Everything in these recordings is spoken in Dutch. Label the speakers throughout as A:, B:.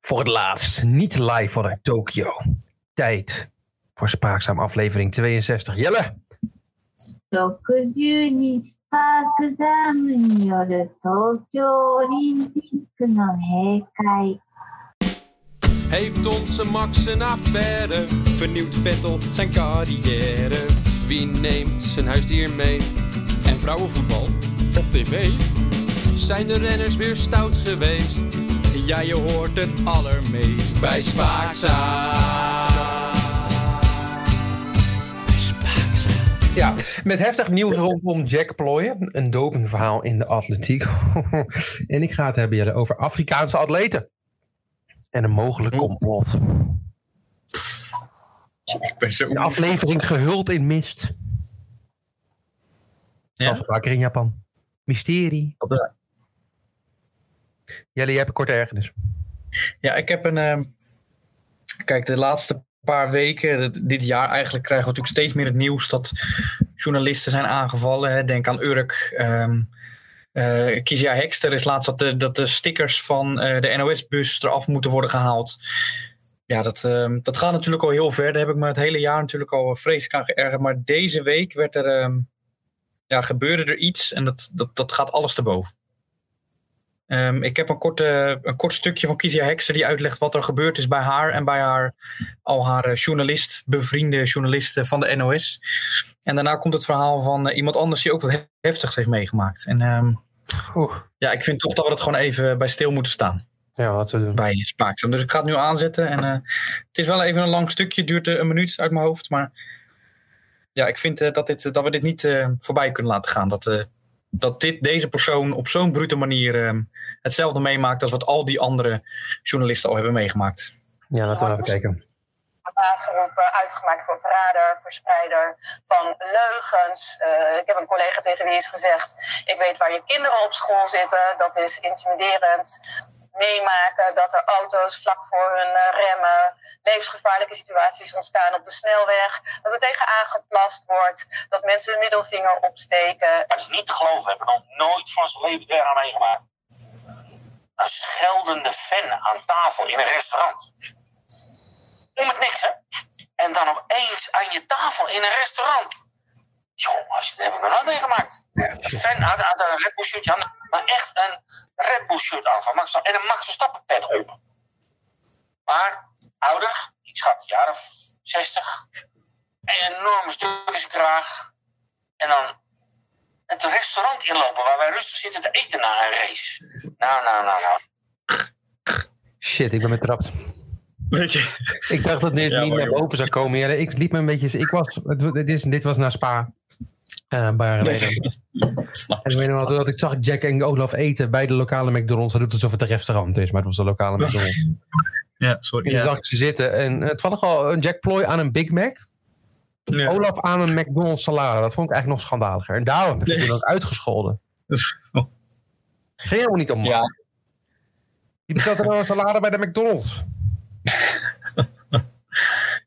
A: Voor het laatst, niet live vanuit Tokio. Tijd voor Spaakzaam aflevering 62. Jelle,
B: 62スパークザームによる東京オリンピックの閉会。
C: Heeft onze Max een affaire? Vernieuwt Vettel zijn carrière? Wie neemt zijn huisdier mee? En vrouwenvoetbal op tv? Zijn de renners weer stout geweest? Ja, je hoort het allermeest bij Spaakzaam.
A: Ja, met heftig nieuws rondom Jack Plooien. Een dopingverhaal in de atletiek. en ik ga het hebben Jelle, over Afrikaanse atleten. En een mogelijk complot.
D: Ik ben zo...
A: Een aflevering gehuld in mist. Zoals vaker in Japan. Mysterie.
D: Ja.
A: Jelle, jij hebt een korte ergernis.
D: Ja, ik heb een... ehm, kijk, de laatste paar weken, dat- dit jaar eigenlijk, krijgen we natuurlijk steeds meer het nieuws dat journalisten zijn aangevallen. Hè. Denk aan Urk. ehm eh Kizia Hekster is laatst dat de, dat de stickers van eh, de NOS-bus eraf moeten worden gehaald. Ja, dat, ehm, dat gaat natuurlijk al heel ver. Daar heb ik me het hele jaar natuurlijk al eh, vreselijk aan geërgerd. Maar deze week werd er, ehm, ja, gebeurde er iets en dat, dat, dat gaat alles te boven. Ehm, ik heb een kort, eh, een kort stukje van Kizia Hekster die uitlegt wat er gebeurd is bij haar en bij haar, al haar eh, journalist, bevriende journalisten van de NOS. En daarna komt het verhaal van eh, iemand anders die ook wat he- heftigs heeft meegemaakt. En ehm,
A: Oeh.
D: ja, ik vind toch dat we dat gewoon even bij stil moeten staan,
A: Ja, laten we doen.
D: bij Spaakzaam. Dus ik ga het nu aanzetten. En, eh, het is wel even een lang stukje, duurt eh, een minuut uit mijn hoofd. Maar ja, ik vind eh, dat, dit, dat we dit niet eh, voorbij kunnen laten gaan. Dat, eh, dat dit, deze persoon op zo'n brute manier eh, hetzelfde meemaakt als wat al die andere journalisten al hebben meegemaakt.
A: Ja, laten we even kijken.
E: geroepen, eh, uitgemaakt voor verrader, verspreider van leugens. Eh, ik heb een collega tegen wie is gezegd: Ik weet waar je kinderen op school zitten, dat is intimiderend. Meemaken dat er auto's vlak voor hun eh, remmen, levensgevaarlijke situaties ontstaan op de snelweg, dat er tegen aangeplast wordt, dat mensen hun middelvinger opsteken.
F: Dat is niet te geloven. Heb ik nog nooit van zijn leven daar aan meegemaakt. Een scheldende fan aan tafel in een restaurant. Om het niks, hè? En dan opeens aan je tafel in een restaurant. Jongens, dat heb ik nog nooit meegemaakt. Een fan had, had een Red Bull shirtje aan, maar echt een Red Bull shirt aan van Max Verstappen- en een Max Verstappen pet op. Maar ouder, ik schat, jaren 60. Een enorme stuk in zijn kraag. En dan het restaurant inlopen waar wij rustig zitten te eten na een race. Nou, nou, nou, nou.
A: Shit, ik ben betrapt.
D: Weet je?
A: Ik dacht dat dit
D: Ja,
A: niet
D: hoor,
A: naar
D: joh.
A: boven zou komen. Jelle. ik liep me een beetje. Ik was, het- dit, is, dit was naar Spa. Eh, een paar jaar geleden. En ik weet nog wel, dat ik zag Jack en Olaf eten bij de lokale McDonald's. Hij doet alsof het een restaurant is, maar het was de lokale McDonald's. En
D: Ja, sorry.
A: toen
D: Ja.
A: zag ik ze zitten. En het toevallig al een Jack Ploy aan een Big Mac.
D: Ja.
A: Olaf aan een McDonald's salade. Dat vond ik eigenlijk nog schandaliger. En daarom heb ik ze toen ook uitgescholden. Ging helemaal niet om.
D: Ja.
A: Die bestelde wel een salade bij de McDonald's.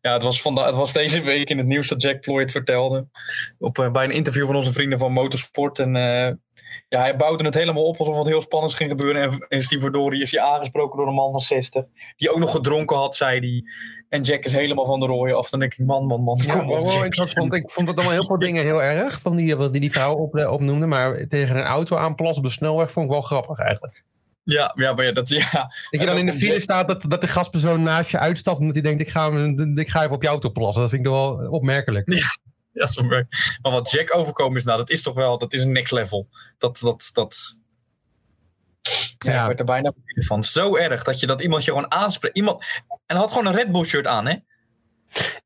D: Ja, het was, vanda- het was deze week in het nieuws dat Jack Ploy het vertelde. Op, eh, bij een interview van onze vrienden van Motorsport. En eh, ja, hij bouwde het helemaal op alsof het heel spannends ging gebeuren. En is die verdorie is hij aangesproken door een man van 60. Die ook nog gedronken had, zei hij. En Jack is helemaal van de rooien af. Dan denk ik, man, man, man.
A: Ja,
D: kom op,
A: wow,
D: Jack.
A: oh, ik, had- vond, ik vond het allemaal heel veel dingen heel erg. Van die, wat die, die vrouw op, opnoemde. Maar tegen een auto aanplassen op de snelweg vond ik wel grappig eigenlijk.
D: ja, ja, maar ja, dat, ja.
A: Dat je dan in de file staat dat, dat de gastpersoon naast je uitstapt. Omdat hij denkt ik ga, hem- ik ga even op jou auto plassen. Dat vind ik toch wel opmerkelijk.
D: ja zo maar. maar wat Jack overkomen is, nou, dat is toch wel, dat is een next level. Dat, dat, dat. Ja,
A: Ja.
D: ik werd er bijna beneden van. Zo erg dat je dat iemand je gewoon aanspreekt. Iemand, en hij had gewoon een Red Bull shirt aan, hè?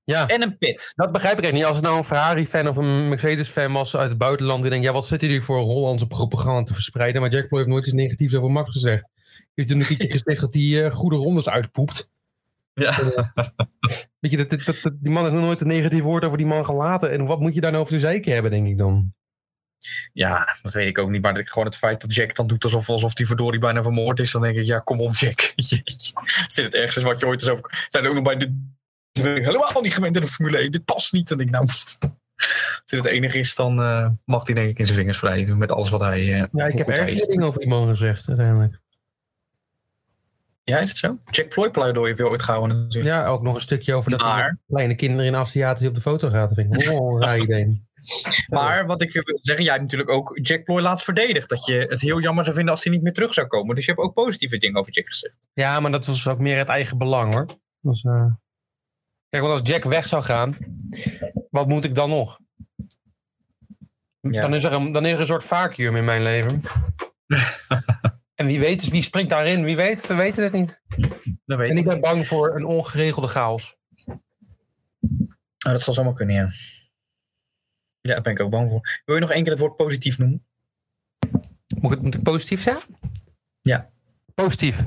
A: Ja.
D: En een pit.
A: Dat begrijp ik echt niet. Als het nou een Ferrari-fan of een Mercedes-fan was uit het buitenland. Die denkt, ja, wat zitten jullie voor Hollandse propaganda te verspreiden? Maar Jack Ploy heeft nooit iets negatiefs over Max gezegd. Hij heeft toen een keertje gezegd dat hij eh, goede rondes uitpoept. Eh,
D: Ja.
A: Weet je, dat, dat, dat- die man heeft nog nooit een negatief woord over die man gelaten. En wat moet je daar nou over te zeiken hebben, denk ik dan?
D: ja, dat weet ik ook niet. Maar dat- gewoon het feit dat Jack dan doet alsof, alsof die verdorie bijna vermoord is. Dan denk ik, ja, kom op Jack. Jeetje. Is dit het ergste wat je ooit is over... Zijn er ook nog bij dit... dit ben ik helemaal niet gewend in de Formule 1. Dit past niet. En ik nou... pff. Als dit het enige is, dan eh, mag hij denk ik in zijn vingers wrijven met alles wat hij... eh,
A: Ja, ik
D: hoe
A: heb
D: goed hij
A: ergste
D: is.
A: dingen over die man gezegd, uiteindelijk.
D: Ja, is het zo? Jack Ploy-pleidooi heb je ooit gehouden natuurlijk.
A: Ja, ook nog een stukje over dat
D: Maar-
A: er kleine kinderen in Aziatisch op de foto gaat. Dat vind ik Oh, raar idee.
D: Maar wat ik wil zeggen, jij hebt natuurlijk ook Jack Ploy laatst verdedigd. Dat je het heel jammer zou vinden als hij niet meer terug zou komen. Dus je hebt ook positieve dingen over Jack gezegd.
A: Ja, maar dat was ook meer het eigen belang hoor. Dat Was, eh, Kijk, want als Jack weg zou gaan, wat moet ik dan nog?
D: Ja.
A: Dan, is er een, dan is er een soort vacuüm in mijn leven. en wie weet, dus wie springt daarin? Wie weet, we weten het niet.
D: Dat weet
A: En
D: ik.
A: ik ben bang voor een ongeregelde chaos.
D: Ah, dat zal zomaar kunnen, ja. Ja, daar ben ik ook bang voor. Wil je nog één keer het woord positief noemen?
A: Moet ik, moet ik positief zeggen?
D: Ja.
A: Positief.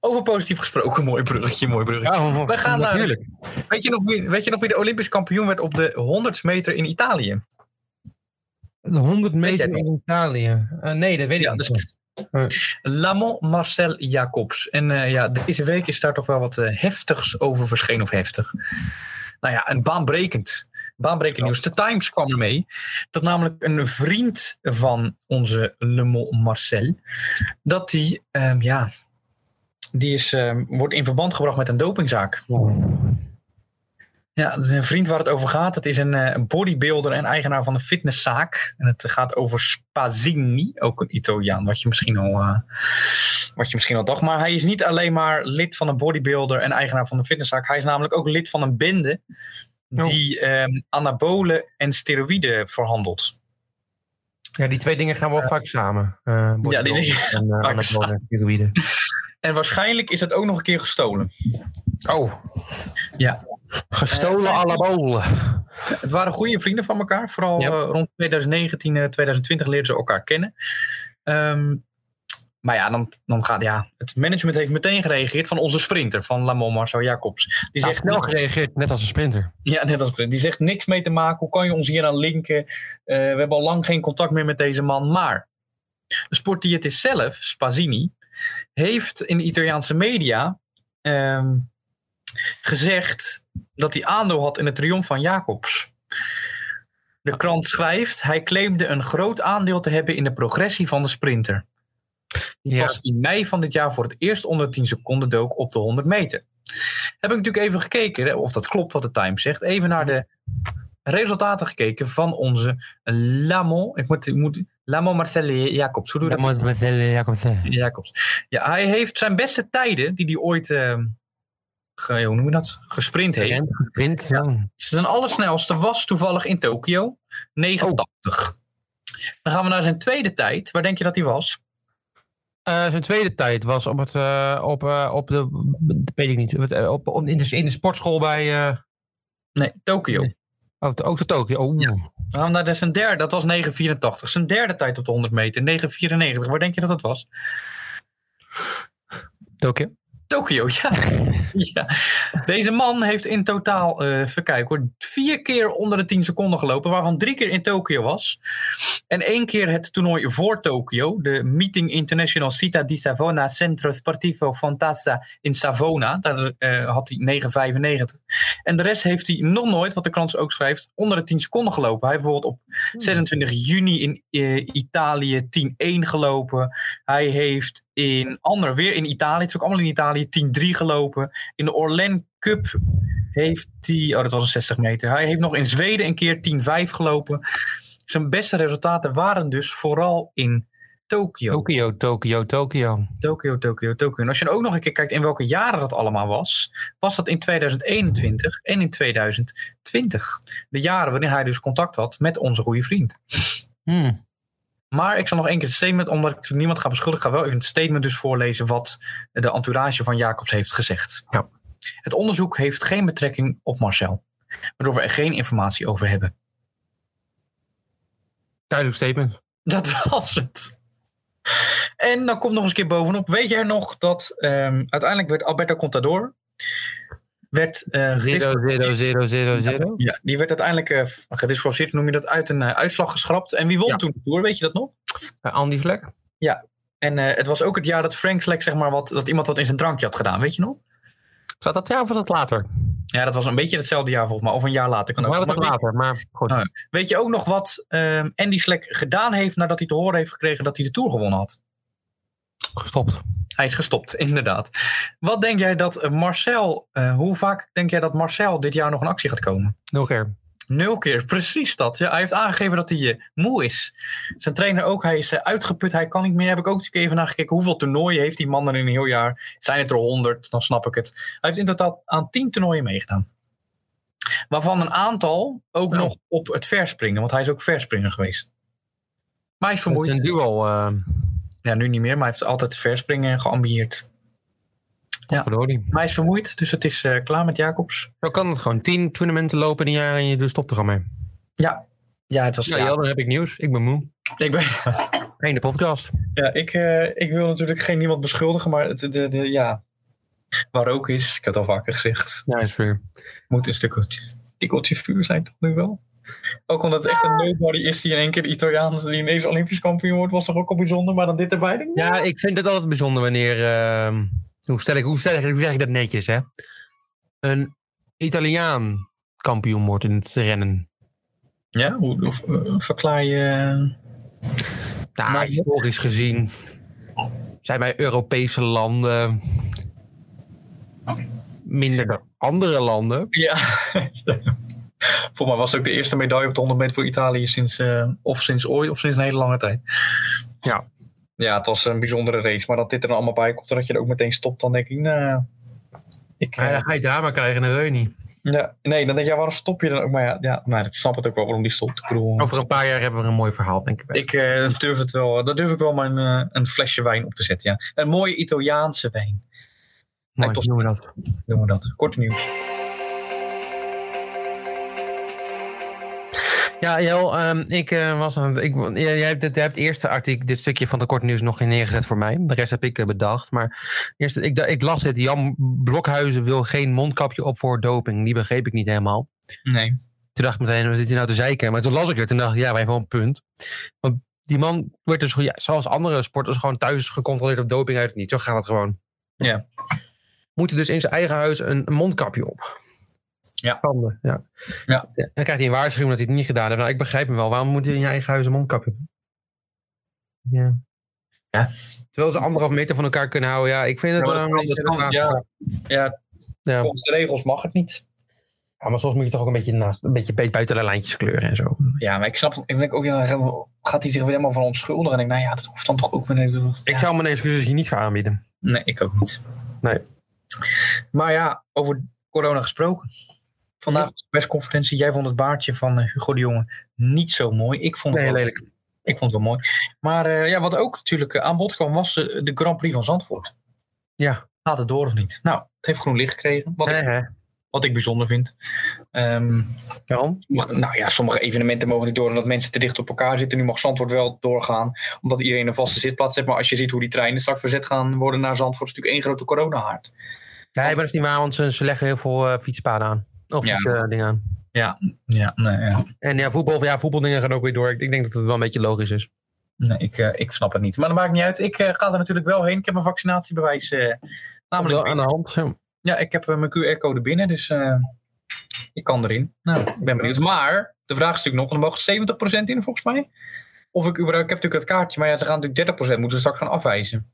D: Over positief gesproken, mooi bruggetje, mooi bruggetje.
A: Ja,
D: We gaan naar-
A: natuurlijk.
D: Weet, je nog wie, weet je nog wie de Olympisch kampioen werd op de 100 meter in Italië?
A: De 100
D: jij
A: meter
D: nog?
A: in Italië. Eh, nee, dat weet ik
D: Ja,
A: niet.
D: dus
A: Ja.
D: Lamont Marcel Jacobs. En eh, ja, deze week is daar toch wel wat eh, heftigs over verschenen. Of heftig. Nou ja, een baanbrekend. Baanbrekend nieuws. De Times kwam ermee. Dat namelijk een vriend van onze Lamont Marcel. Dat die, ehm, ja. Die is, ehm, wordt in verband gebracht met een dopingzaak. Ja, dat is een vriend waar het over gaat. Het is een eh, bodybuilder en eigenaar van een fitnesszaak. En het gaat over Spazini, ook een Italiaan, wat je misschien al, eh, wat je misschien al dacht. Maar hij is niet alleen maar lid van een bodybuilder en eigenaar van een fitnesszaak. Hij is namelijk ook lid van een bende die ehm anabolen en steroïden verhandelt.
A: Ja, die twee dingen gaan wel vaak samen. Eh, bodybuilding
D: die dingen
A: en, eh,
D: vaak
A: anabole steroïden.
D: En waarschijnlijk is dat ook nog een keer gestolen.
A: Oh.
D: Ja. Eh,
A: Gestolen
D: zijn-
A: alabolen.
D: Eh, Het waren goede vrienden van elkaar. Vooral
A: Ja.
D: eh, rond 2019, eh, 2020 leerden ze elkaar kennen. Ehm, maar ja, dan, dan gaat ja. Het management heeft meteen gereageerd van onze sprinter, van Lamont Marcel Jacobs. Die
A: Die
D: zegt, "Nou,
A: snel
D: niks-
A: gereageerd, net als een sprinter.
D: ja, net als, die zegt niks mee te maken. Hoe kan je ons hier aan linken? Eh, we hebben al lang geen contact meer met deze man. Maar de sport die het is zelf, Spazini, heeft in de Italiaanse media ehm, gezegd dat hij aandeel had in de triomf van Jacobs. De krant schrijft, hij claimde een groot aandeel te hebben in de progressie van de sprinter. Die
A: Ja.
D: pas in mei van dit jaar voor het eerst onder 10 seconden dook op de 100 meter. Heb ik natuurlijk even gekeken, hè, of dat klopt wat de Times zegt, even naar de resultaten gekeken van onze Lamont, ik moet, ik moet, Lamont Marcelli Jacobs. Hoe doe je dat? Jacobs. Ja, hij heeft zijn beste tijden, die hij ooit ehm, ge- hoe noem je dat? gesprint heeft.
A: Wind lang.
D: Zijn allersnelste was toevallig in Tokio, 89. Dan gaan we naar zijn tweede tijd. Waar denk je dat hij was?
A: Eh, zijn tweede tijd was op het, eh, op, eh, op de, dat weet ik niet, op het, eh, op, op- in, de, in de sportschool bij, eh
D: Nee, Tokio.
A: oh, de- ook de Tokio. Oh,
D: Ja. Dan gaan we naar de- zijn derde, nou, dat was 984. Zijn derde tijd op de 100 meter, 994. Waar denk je dat dat was?
A: Tokio.
D: Tokio, ja. ja. Deze man heeft in totaal, eh even kijken hoor, vier keer onder de 10 seconden gelopen, waarvan drie keer in Tokio was. En één keer het toernooi voor Tokio, de Meeting International Città di Savona Centro Sportivo Fantazza in Savona. Daar eh, had hij 9,95. En de rest heeft hij nog nooit, wat de krant ook schrijft, onder de 10 seconden gelopen. Hij heeft bijvoorbeeld op 26 juni in eh, Italië 10-1 gelopen. Hij heeft in ander, weer in Italië, het is ook allemaal in Italië, 10-3 gelopen. In de Orlen Cup heeft hij, oh dat was een 60 meter. Hij heeft nog in Zweden een keer 10-5 gelopen. Zijn beste resultaten waren dus vooral in Tokio.
A: Tokio, Tokio, Tokio.
D: Tokio, Tokio, Tokio. En als je dan ook nog een keer kijkt in welke jaren dat allemaal was, was dat in 2021 en in 2020. De jaren waarin hij dus contact had met onze goede vriend.
A: Hmm.
D: Maar ik zal nog één keer het statement, omdat ik natuurlijk niemand ga beschuldigen, ga wel even het statement dus voorlezen wat de entourage van Jacobs heeft gezegd.
A: Ja.
D: Het onderzoek heeft geen betrekking op Marcel, waardoor we er geen informatie over hebben.
A: Duidelijk statement.
D: Dat was het. En dan komt nog eens een keer bovenop. Weet jij nog dat ehm, uiteindelijk werd Alberto Contador werd, eh, gedis-
A: Zero, zero, zero, zero, zero.
D: ja, die werd uiteindelijk eh gedisqualificeerd, noem je dat, uit een eh, uitslag geschrapt. En wie won
A: Ja.
D: toen de Tour, weet je dat nog?
A: Eh, Andy Vlek.
D: En eh, het was ook het jaar dat Frank Slek, zeg maar, wat, dat iemand wat in zijn drankje had gedaan, weet je nog?
A: Zat dat ja of was dat
D: Oh,
A: later?
D: Ja, dat was een beetje hetzelfde jaar volgens mij. Of een jaar later. Kan ook.
A: Maar dat
D: Maar
A: was later, maar goed.
D: Ah. weet je ook nog wat ehm, Andy Slek gedaan heeft nadat hij te horen heeft gekregen dat hij de Tour gewonnen had?
A: Gestopt.
D: Hij is gestopt, inderdaad. Wat denk jij dat Marcel, eh, hoe vaak denk jij dat Marcel dit jaar nog een actie gaat komen?
A: Nul keer.
D: Nul keer, precies dat. Ja, hij heeft aangegeven dat hij eh, moe is. Zijn trainer ook, hij is eh, uitgeput, hij kan niet meer. Heb ik ook natuurlijk even naar gekeken. Hoeveel toernooien heeft die man er in een heel jaar? Zijn het er honderd, dan snap ik het. Hij heeft in totaal aan tien toernooien meegedaan. Waarvan een aantal ook nog op het verspringen, want hij is ook verspringer geweest. Maar hij is
A: Het is
D: vermoeid.
A: een duo. eh
D: Ja, nu niet meer, maar hij heeft altijd verspringen geambieerd.
A: potverdorie.
D: Maar hij is vermoeid, dus het is eh, klaar met Jacobs.
A: Zo kan het gewoon. Tien toernooien lopen in een jaar en je doet- stopt er gewoon mee.
D: Ja, het was
A: Ja, ja, dan heb ik nieuws. Ik ben moe.
D: Ik ben,
A: Einde podcast.
D: Ja, ik, eh, ik wil natuurlijk geen niemand beschuldigen, maar het- de, de, ja. Waar ook is, ik heb het al vaker gezegd,
A: Ja, is weer.
D: moet een stukkeltje, tikkeltje vuur zijn toch nu wel? Ook omdat het echt een nobody is die in één keer de Italiaan die ineens Olympisch kampioen wordt, was toch ook al bijzonder, maar dan dit erbij? denk ik,
A: Ja, ik vind het altijd bijzonder wanneer. ehm, hoe, stel ik, hoe, stel ik, hoe zeg ik dat netjes, hè? Een Italiaan kampioen wordt in het rennen.
D: Ja, hoe of, eh, verklaar je... eh,
A: Nou,
D: Maar-
A: historisch gezien zijn wij Europese landen minder dan andere landen.
D: Ja. Voor mij was het ook de eerste medaille op de 100 meter voor Italië sinds, eh, of sinds ooit, of sinds een hele lange tijd.
A: Ja.
D: Ja, het was een bijzondere race. Maar dat dit er dan allemaal bij komt en dat je er ook meteen stopt, dan denk ik, nou... Ik, eh,
A: Maar dan ga je drama krijgen in Reunie.
D: ja, nee, dan denk je, ja, waarom stop je dan ook? Maar ja, ja maar dat snap het ook wel waarom die stopt. Ik bedoel,
A: Over een paar jaar hebben we een mooi verhaal, denk ik.
D: ik eh, durf het wel, daar durf ik wel mijn eh, een flesje wijn op te zetten, ja. Een mooie Italiaanse wijn,
A: mooi,
D: toch-
A: doen we dat.
D: noemen we dat. Kort nieuws.
A: Ja, Jel, ehm, ik eh, was aan het. Ik, jij, jij hebt, dit- jij hebt het eerste artikel, dit stukje van de kort nieuws nog niet neergezet voor mij. De rest heb ik eh, bedacht. Maar eerst, ik, da- ik las het. Jan Blokhuizen wil geen mondkapje op voor doping. Die begreep ik niet helemaal.
D: Nee.
A: Toen dacht ik meteen, wat zit hij nou te zeiken? Maar toen las ik het en dacht ik, ja, wij hebben wel een punt. Want die man wordt dus, gewoon- ja, zoals andere sporters, gewoon thuis gecontroleerd op doping uit het niet. Zo gaat het gewoon.
D: Ja.
A: Moet er dus in zijn eigen huis een een mondkapje op.
D: Ja.
A: Tanden, ja.
D: Ja.
A: Dan krijgt hij een waarschuwing dat hij het niet gedaan heeft. Nou, ik begrijp hem wel. Waarom moet hij in je eigen huis een mondkapje op? Ja.
D: Ja.
A: Terwijl ze anderhalf meter van elkaar kunnen houden. Ja, ik vind het
D: Ja,
A: wel
D: maar
A: een
D: dat kan-
A: beetje
D: dat kan-
A: raar.
D: ja, ja,
A: Ja.
D: volgens de regels mag het niet.
A: Ja, maar soms moet je toch ook een beetje, naast, een beetje buiten de lijntjes kleuren en zo.
D: Ja, maar ik snap het. Ik denk ook, ja, dan gaat hij zich weer helemaal van onschuldigen. En ik denk, nou ja, dat hoeft dan toch ook meteen. te doen.
A: Ik
D: Ja.
A: zou mijn excuses hier niet voor aanbieden.
D: Nee, ik ook niet.
A: Nee.
D: Maar ja, over corona gesproken. Vandaag was de persconferentie. Jij vond het baardje van eh, Hugo de Jonge niet zo mooi. Ik vond het,
A: Nee,
D: wel,
A: lelijk.
D: ik vond het wel mooi. Maar eh, ja, wat ook natuurlijk eh, aan bod kwam, was eh, de Grand Prix van Zandvoort.
A: Ja.
D: Gaat het door of niet? Nou, het heeft groen licht gekregen. Wat, ik,
A: Hè, hè.
D: wat ik bijzonder vind. Ehm
A: Waarom?
D: Mag- Nou ja, sommige evenementen mogen niet door omdat mensen te dicht op elkaar zitten. Nu mag Zandvoort wel doorgaan, omdat iedereen een vaste zitplaats heeft. Maar als je ziet hoe die treinen straks bezet gaan worden naar Zandvoort, is het natuurlijk één grote coronahaard.
A: Nee, maar dat is niet waar, want ze, ze leggen heel veel eh, fietspaden aan. Of
D: Ja.
A: fietsdingen aan.
D: Ja, nee, ja.
A: En ja, voetbal, ja, voetbaldingen gaan ook weer door. Ik, ik denk dat het wel een beetje logisch is.
D: nee ik, eh, ik snap het niet. Maar dat maakt niet uit. Ik eh, ga er natuurlijk wel heen. Ik heb mijn vaccinatiebewijs. eh, namelijk,
A: Wel aan de hand. ja.
D: ja, ik heb eh, mijn QR-code binnen, dus eh, ik kan erin. Nou, ik ben benieuwd. Maar de vraag is natuurlijk nog, er mogen 70% in volgens mij. Of ik überhaupt, ik heb natuurlijk dat kaartje, maar ja, ze gaan natuurlijk 30% moeten ze straks gaan afwijzen.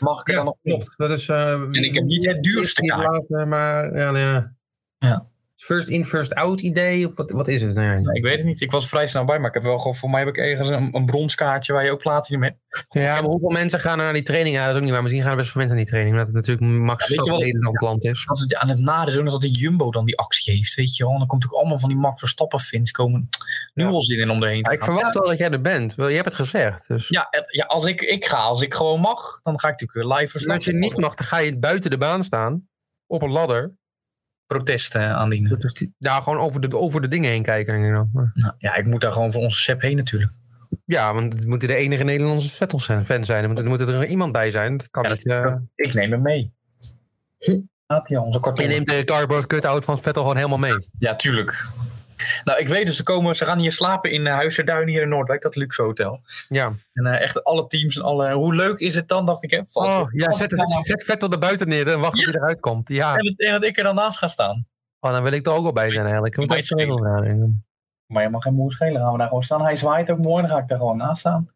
D: Mag ik er
A: Ja,
D: dan nog op?
A: Dat is... eh,
D: En ik heb niet het duurste
A: niet
D: kaartje.
A: laten, maar ja, nou ja.
D: Ja.
A: First in, first out idee? Of wat, wat is het? Nou ja.
D: Ik weet het niet. Ik was er vrij snel bij, maar ik heb wel gewoon, voor mij heb ik ergens een, een bronskaartje waar je ook platinum hebt.
A: ja, maar hoeveel mensen gaan er naar die training? Ja, dat is ook niet waar. Misschien gaan er best veel mensen naar die training. Omdat het natuurlijk max
D: Ja, weet je
A: stad
D: wat-
A: Nederland land is.
D: Dat is het- aan het nadeel is ook nog dat de Jumbo dan die actie heeft, weet je wel. En dan komt ook allemaal van die Max Verstappen fans komen nu
A: Ja.
D: al zin in om erheen te
A: Ja, ik
D: gaan.
A: verwacht wel dat jij er bent. Wel, Je hebt het gezegd. Dus.
D: Ja, het- ja, als ik, ik ga, als ik gewoon mag, dan ga ik natuurlijk weer live
A: En
D: verslag
A: als je
D: doen.
A: niet mag, dan ga je buiten de baan staan. Op een ladder.
D: protesten aandienen.
A: Dus die- nou, gewoon over de, over de dingen heen kijken. you know. Maar-
D: Nou, ja, ik moet daar gewoon voor onze Sepp heen natuurlijk.
A: Ja, want het moet de enige Nederlandse Vettel-fan zijn. Er moet, er moet er iemand bij zijn. Dat kan
D: Ja,
A: niet. eh.
D: Ik neem hem mee.
A: Hm.
D: Gaat hij al, onze
A: Je
D: karton.
A: neemt de cardboard cut-out van Vettel gewoon helemaal mee.
D: Ja, tuurlijk. Nou, ik weet dus, ze, komen, ze gaan hier slapen in eh, Huizerduin hier in Noordwijk, dat luxe hotel.
A: Ja.
D: En eh, echt alle teams en alle... Hoe leuk is het dan, dacht ik, hè? Valt
A: Oh,
D: het-
A: ja,
D: valt
A: zet,
D: het dan
A: zet, zet Vettel er buiten neer en wacht tot hij eruit komt. Ja.
D: af? En, dat- en dat ik er dan naast ga staan.
A: Oh, dan wil ik er ook wel bij zijn eigenlijk. Ik moet
D: Maar
A: echt
D: het
A: wel nadenken.
D: Maar je mag geen moer schelen, gaan we daar gewoon staan. Hij zwaait ook mooi, dan ga ik daar gewoon naast staan.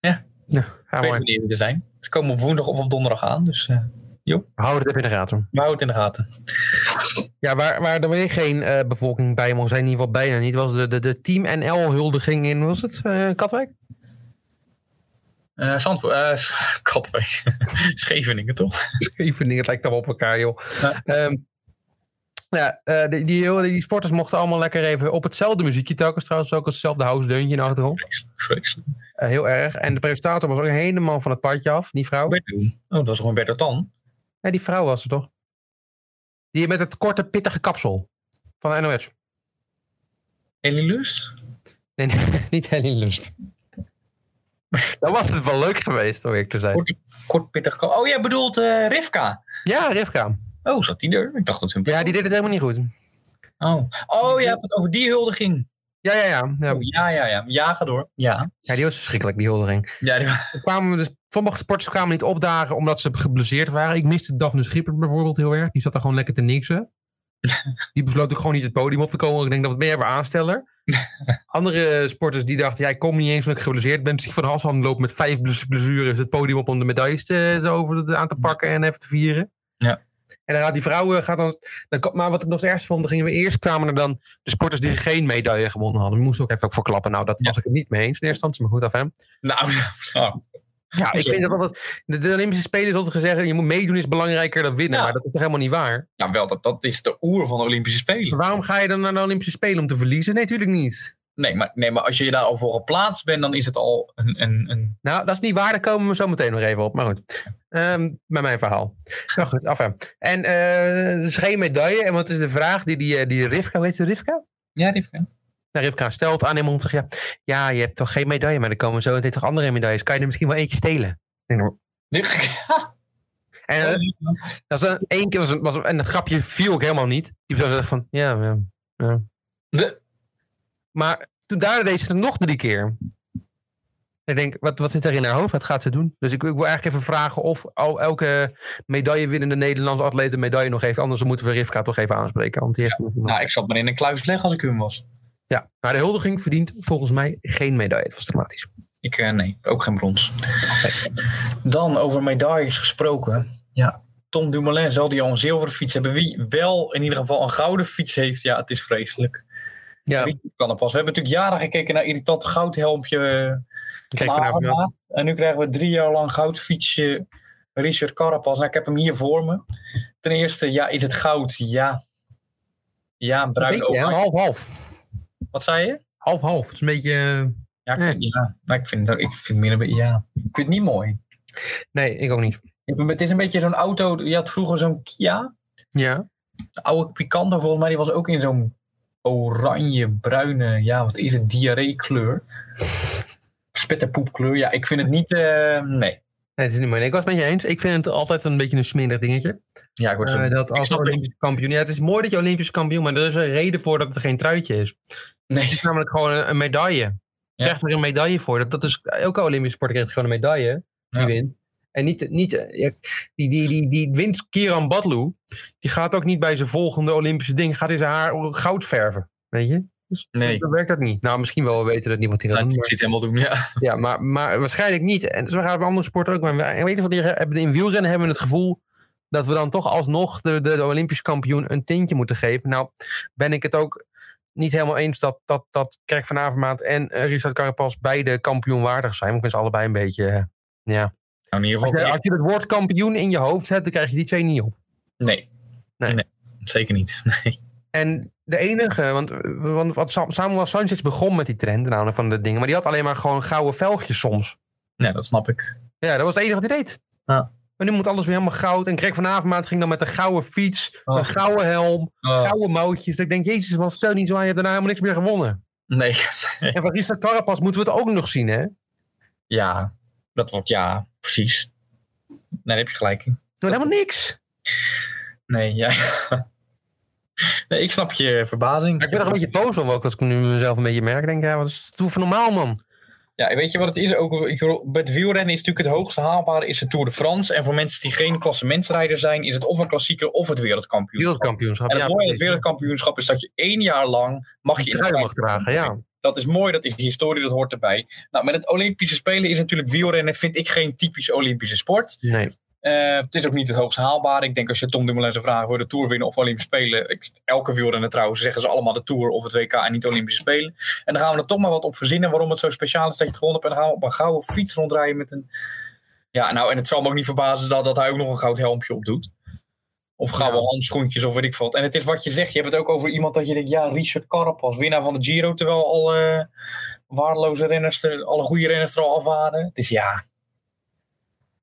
D: Ja,
A: Ja,
D: Ik
A: ga
D: weet
A: maar.
D: wanneer die er zijn. Ze komen op woensdag of op donderdag aan. Dus eh
A: Hou het even in de gaten.
D: we houden het in de gaten.
A: Ja, waar, waar er weer geen eh, bevolking bij mocht zijn, in ieder geval bijna niet, was de, de, de Team NL-huldiging in, was het, eh, Katwijk?
D: Eh Zandvoort. eh, Katwijk. Scheveningen, toch?
A: Evening, het lijkt allemaal op elkaar, joh.
D: Ja.
A: Ehm, ja, eh, die, die, heel- die sporters mochten allemaal lekker even op hetzelfde muziekje telkens trouwens, ook hetzelfde house deuntje in de achtergrond.
D: Vreselijk.
A: Eh, heel erg. En de presentator was ook helemaal van het padje af, die vrouw.
D: Oh, dat was gewoon Bert Tan.
A: Ja, die vrouw was het toch? Die met het korte, pittige kapsel van de NOS.
D: Elie Lust?
A: Nee, nee, niet Helene Lust. Dan was het wel leuk geweest, hoor ik te zijn.
D: Kort pittig. ko- Oh, jij bedoelt eh, Rivka.
A: Ja, Rivka.
D: Oh, zat die er? Ik dacht dat ze een
A: Ja, die deed het helemaal niet goed.
D: Oh, oh je hebt het over die huldiging.
A: Ja, ja, ja. Ja,
D: Oh, ja, ja, ja. Ja, ga door. Ja.
A: ja die was verschrikkelijk, die huldiging.
D: ja die-
A: Er kwamen dus, sommige sporters kwamen niet opdagen omdat ze geblesseerd waren. Ik miste Daphne Schipper bijvoorbeeld heel erg. Die zat daar gewoon lekker te niksen. Die besloot ook gewoon niet het podium op te komen. Ik denk, dat ben jij weer aansteller? Andere sporters die dachten, ja, ik kom niet eens omdat ik geblesseerd ben. Dus ik van Hassan loopt met vijf bless- blessures het podium op om de medailles te, zo over de- aan te pakken en even te vieren.
D: Ja.
A: En dan gaat die vrouwen, gaat dan, dan, kan- maar wat ik nog het ergste vond, dan gingen we eerst, kwamen er dan de sporters die geen medaille gewonnen hadden. Moest ook even ook voor klappen. Nou, dat
D: Ja.
A: was ik het niet mee eens in eerste instantie, maar goed, af hem.
D: Nou, nou.
A: Ja, ik vind dat altijd. De, de Olympische Spelen is altijd gezegd: je moet meedoen is belangrijker dan winnen.
D: Ja.
A: Maar dat is toch helemaal niet waar?
D: Nou, wel, dat, dat is de oer van de Olympische Spelen.
A: Maar waarom ga je dan naar de Olympische Spelen om te verliezen? Nee, natuurlijk niet.
D: Nee maar, nee, maar als je daar al voor geplaatst bent, dan is het al een. een, een...
A: Nou, dat is niet waar. Daar komen we zo meteen nog even op. Maar goed. Ehm, met mijn verhaal. Nou goed, af. En eh, er is geen medaille. En wat is de vraag die, die, eh, die Rivka, weet je Rivka?
D: Ja, Rivka.
A: Nou, Rivka stelt aan hem om te zeggen: ja, ja, je hebt toch geen medaille, maar er komen zo meteen toch andere medailles. Kan je er misschien wel eentje stelen? Ik denk, En eh, dat was een, één keer was, een- was een- en dat grapje viel ook helemaal niet. Die persoon zegt van, ja, ja, ja.
D: De-
A: Maar toen daar deed ze het nog drie keer. Ik denk, wat, wat zit er in haar hoofd? Wat gaat ze doen? Dus ik, ik wil eigenlijk even vragen of al, elke medaillewinnende Nederlandse atleet een medaille nog heeft. Anders moeten we Rivka toch even aanspreken. Want die heeft
D: Nou, ik zat maar in een kluis leggen als ik hun was.
A: ja. maar de huldiging verdient volgens mij geen medaille. Het was dramatisch.
D: Ik, eh, nee, ook geen brons. Dan over medailles gesproken. Ja, Tom Dumoulin zal die al een zilveren fiets hebben. Wie wel in ieder geval een gouden fiets heeft, ja, het is vreselijk.
A: Ja, ik
D: Wie kan het pas? We hebben natuurlijk jaren gekeken naar irritante goudhelmpje. eh,
A: kreeg
D: van
A: vanavond
D: Avermaat. En nu krijgen we drie jaar lang goudfietsje Richard Carapaz. Nou, ik heb hem hier voor me. Ten eerste, ja, is het goud? Ja. Ja, bruin
A: een beetje, hè,
D: ook.
A: half-half.
D: Wat zei je?
A: Half-half. Het is een beetje... eh,
D: Ja, ik vind, ja. Maar ik vind, ik vind het meer een beetje, ja. Ik vind het niet mooi.
A: Nee, ik ook niet.
D: Ik ben- Het is een beetje zo'n auto. Je had vroeger zo'n Kia.
A: Ja.
D: De oude Picanto, volgens mij, die was ook in zo'n oranje-bruine. Ja, wat is het? Diarree-kleur. Spit- en poepkleur. Ja, ik vind het niet. eh, nee.
A: Nee, het is niet mooi. Nee, ik was het met je eens. Ik vind het altijd een beetje een smerig dingetje.
D: Ja, ik word zo.
A: Eh, dat als
D: snap het.
A: Olympisch kampioen. Ja, het is mooi dat je Olympisch kampioen bent, maar er is een reden voor dat het geen truitje is.
D: nee.
A: Het is namelijk gewoon een, een medaille. Je
D: Ja.
A: krijgt er een medaille voor. Dat, dat is, elke Olympische sporter krijgt gewoon een medaille. Die
D: Ja.
A: wint. En niet, niet eh, ja, die, die, die, die wint Kiran Badloo. Die gaat ook niet bij zijn volgende Olympische ding. Gaat in zijn haar goud verven. Weet je? Dus
D: Nee.
A: Dan werkt dat niet. Nou, misschien wel. We weten dat niemand hier
D: Nou,
A: aan
D: ik
A: doet.
D: zit helemaal doen. Ja.
A: Ja, maar, maar waarschijnlijk niet. En zo gaat het bij andere sporten ook. Maar we- weet je wat, die hebben- in wielrennen hebben we het gevoel dat we dan toch alsnog de, de, de Olympisch kampioen een tintje moeten geven. Nou, ben ik het ook niet helemaal eens dat, dat, dat Kerk van Avermaat en eh, Richard Carapaz beide kampioenwaardig zijn. Want ik ben ze allebei een beetje... eh,
D: Nou, in ieder
A: Als
D: geval.
A: je, als je het woord kampioen in je hoofd hebt, dan krijg je die twee niet op.
D: Nee.
A: Nee.
D: Zeker niet. Nee.
A: En de enige, want, want wat Sam- Samuel Sanchez begon met die trend, namelijk van de dingen, maar die had alleen maar gewoon gouden velgjes soms.
D: Nee, dat snap ik.
A: Ja, dat was het enige wat hij deed.
D: Ja.
A: Maar nu moet alles weer helemaal goud. En Greg van Avermaat ging dan met een gouden fiets,
D: Oh.
A: een gouden helm,
D: Oh,
A: gouden mouwtjes. Dat ik denk, jezus man, stel niet zo aan, je hebt daarna helemaal niks meer gewonnen.
D: nee.
A: En van Richard Carapaz moeten we het ook nog zien, hè?
D: Ja. Dat wordt ja. Precies. Nee, daar heb je gelijk in.
A: Dat helemaal niks.
D: Nee, ja. Nee, ik snap je verbazing.
A: Maar Ik ben er een beetje boos om ook, als ik nu mezelf een beetje merk. Ik denk, ja, wat is het voor normaal, man?
D: Ja, weet je wat het is? Ook, ik bedoel, bij het wielrennen is natuurlijk het hoogste haalbare is de Tour de France. En voor mensen die geen klassementsrijder zijn, is het of een klassieker of het wereldkampioenschap.
A: Wereldkampioenschap.
D: En het
A: ja,
D: mooie aan het
A: precies.
D: wereldkampioenschap is dat je één jaar lang mag je
A: Een
D: in
A: trui
D: de
A: mag dragen, ja.
D: Dat is mooi, dat is historie, dat hoort erbij. Nou, met het Olympische Spelen is natuurlijk wielrennen, vind ik geen typisch Olympische sport.
A: Nee.
D: Eh, het is ook niet het hoogst haalbare. Ik denk als je Tom Dumoulin zou vragen, wil je de Tour winnen of Olympische Spelen? Ik- Elke wielrenner trouwens zeggen ze allemaal de Tour of het WK en niet Olympische Spelen. En dan gaan we er toch maar wat op verzinnen waarom het zo speciaal is dat je het gewonnen hebt. En dan gaan we op een gouden fiets rondrijden met een... Ja, nou, en het zal me ook niet verbazen dat, dat hij ook nog een goud helmpje op doet. Of gouden handschoentjes of weet ik veel wat. En het is wat je zegt. Je hebt het ook over iemand dat je denkt, ja, Richard Carapaz, winnaar van de Giro. Terwijl alle waardeloze renners, er- alle goede renners er al af waren. Het is ja...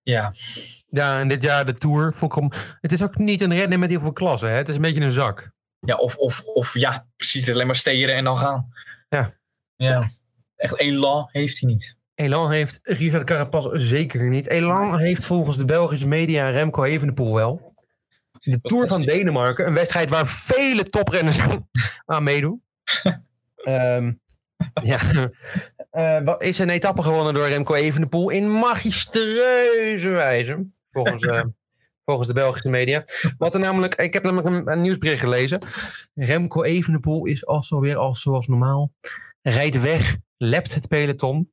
D: Ja,
A: Ja, en dit jaar de Tour. Volkomen. Het is ook niet een rennen met heel veel klassen. Hè? Het is een beetje een zak.
D: Ja, of, of, of ja, precies. Alleen maar steren en dan gaan.
A: Ja.
D: ja. Echt elan heeft hij niet.
A: Elan heeft Richard Carapaz zeker niet. Elan heeft volgens de Belgische media Remco Evenepoel wel. De Tour van Denemarken, een wedstrijd waar vele toprenners aan meedoen. Ehm, ja. Eh, wat- is een etappe gewonnen door Remco Evenepoel in magisterieuze wijze. Volgens, eh, volgens de Belgische media. Wat er namelijk, ik heb namelijk een, een nieuwsbericht gelezen. Remco Evenepoel is alsnog weer als zoals normaal. Rijdt weg, lept het peloton.